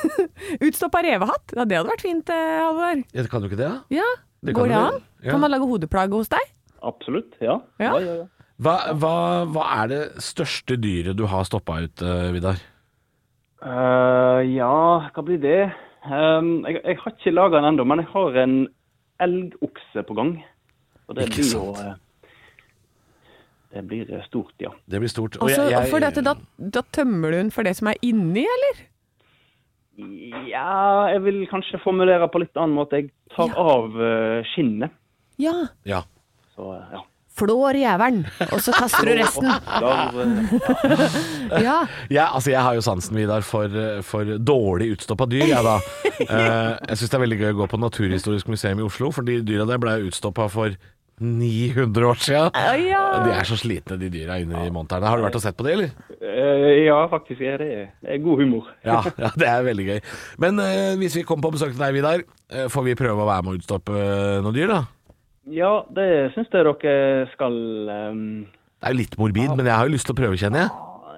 S2: (laughs) Utstoppa revehatt? Ja, det hadde vært fint, eh, Halvor.
S3: Ja, Kan du ikke det? da?
S2: Ja,
S3: Det kan
S2: Går det
S3: du
S2: an?
S3: vel. Ja.
S2: Kan man lage hodeplage hos deg?
S11: Absolutt, ja.
S2: Ja.
S11: Ja, ja, ja.
S3: Hva, hva, hva er det største dyret du har stoppa ut, eh, Vidar?
S11: Eh, ja, hva blir det? Ehm, jeg, jeg har ikke laga den ennå, men jeg har en elgokse på gang. Og det
S3: Ikke
S11: blir jo eh, Det blir eh, stort, ja.
S3: Det blir stort. Og
S2: Altså,
S3: jeg- jeg-
S2: for dette, da, da tømmer du den for det som er inni, eller?
S11: Ja, jeg vil kanskje formulere på litt annen måte. Jeg tar av eh, skinnet.
S2: Ja.
S3: Ja.
S11: Så eh, ja.
S2: Flår jævelen, og så kaster du resten.
S11: Der, eh,
S2: Ja.
S3: Jeg, altså, jeg har jo sansen, Vidar, for, eh, for dårlig utstoppa dyr, jeg da. Eh, jeg syns det er veldig gøy å gå på Naturhistorisk museum i Oslo, for de dyra der ble utstoppa for 900 år sia.
S2: ja.
S3: De er så slitne, de dyra inne i monterne. Har du vært og sett på det, eller?
S11: eh, ja, faktisk er det, det er god humor.
S3: Ja, (laughs) ja det er veldig gøy. Men eh, hvis vi kommer på besøk til deg, Vidar, eh, får vi prøve å være med å utstoppe eh, noen dyr, da?
S11: Ja, det syns jeg dere skal ehm,
S3: Det er jo litt morbid, men jeg har jo lyst til å prøve, kjenner jeg.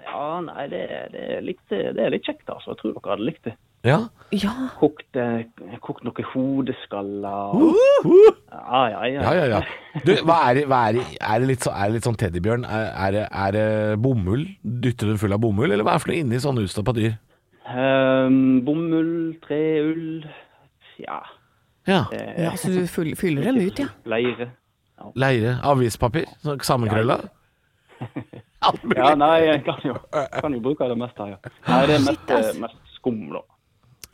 S11: Ja, nei, det, det, er litt, det er litt kjekt, altså. Jeg tror dere hadde likt det.
S3: Ja.
S2: ja.
S11: Kokt, eh, kokt noen hodeskaller og
S3: Uh!
S11: ja, ja, ja.
S3: Ja, ja, ja. Du, hva er, det- hva er, det- er, det litt så, er det litt sånn teddybjørn? Er, er, det, er det bomull? Dytter du den full av bomull, eller hva er det for noe inni sånn sånne utstoppa dyr?
S11: Ehm, bomull, treull Ja.
S3: Ja.
S11: Eh.
S2: ja så du fyll- fyller dem ut, ja.
S11: Leire.
S3: Leire? Avispapir? sånn Sammenkrølla? (laughs) Alt mulig.
S11: Ja, nei, jeg kan jo, kan jo bruke det meste. Ja. Nei, det er mest, eh, mest skum, da.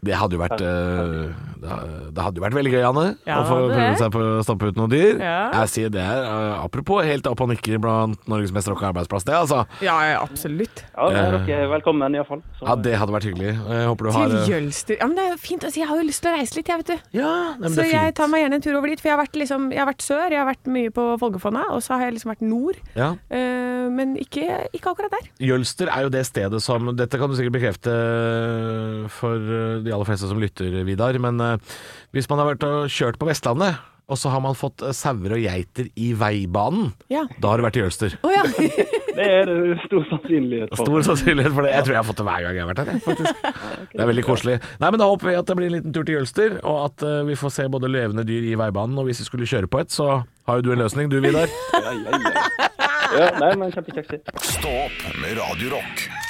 S3: Det hadde jo vært eh, Det ha- det hadde jo vært veldig gøy, Anne,
S2: Ja,
S3: å få
S2: det.
S3: prøve seg på å stampe ut noen dyr.
S2: Ja.
S3: Jeg sier det er eh, apropos helt opp og nikker blant Norges mest rocka arbeidsplass, det, altså.
S2: Ja, ja, absolutt.
S11: Ja, dere er velkommen iallfall.
S3: Ja, det hadde vært hyggelig. Jeg håper du har
S2: Til
S3: eh,
S2: Jølster Ja, men det er jo fint. Altså, jeg har jo lyst til å reise litt, jeg, vet du.
S3: nei, men
S2: så
S3: det er
S2: jeg
S3: fint.
S2: tar meg gjerne en tur over dit. For jeg har vært, liksom, jeg har vært sør, jeg har vært mye på Folgefonna, og så har jeg liksom vært nord.
S3: ja.
S2: Eh, men ikke, ikke akkurat der.
S3: Jølster er jo det stedet som Dette kan du sikkert bekrefte eh, for de aller fleste som lytter, Vidar. Men eh, hvis man har vært og kjørt på Vestlandet, og så har man fått eh, sauer og geiter i veibanen,
S2: Ja.
S3: da har det vært i Jølster.
S2: Å ja.
S11: Det er det stor sannsynlighet for.
S3: Stor sannsynlighet for det. Jeg tror jeg har fått det hver gang jeg har vært her. jeg, faktisk. Det er veldig koselig. Nei, men Da håper vi at det blir en liten tur til Jølster, og at eh, vi får se både levende dyr i veibanen. Og hvis vi skulle kjøre på et, så har jo du en løsning, du Vidar.
S11: Ja, nei, men kjempekjekt.
S1: Stå opp med Radio Rock.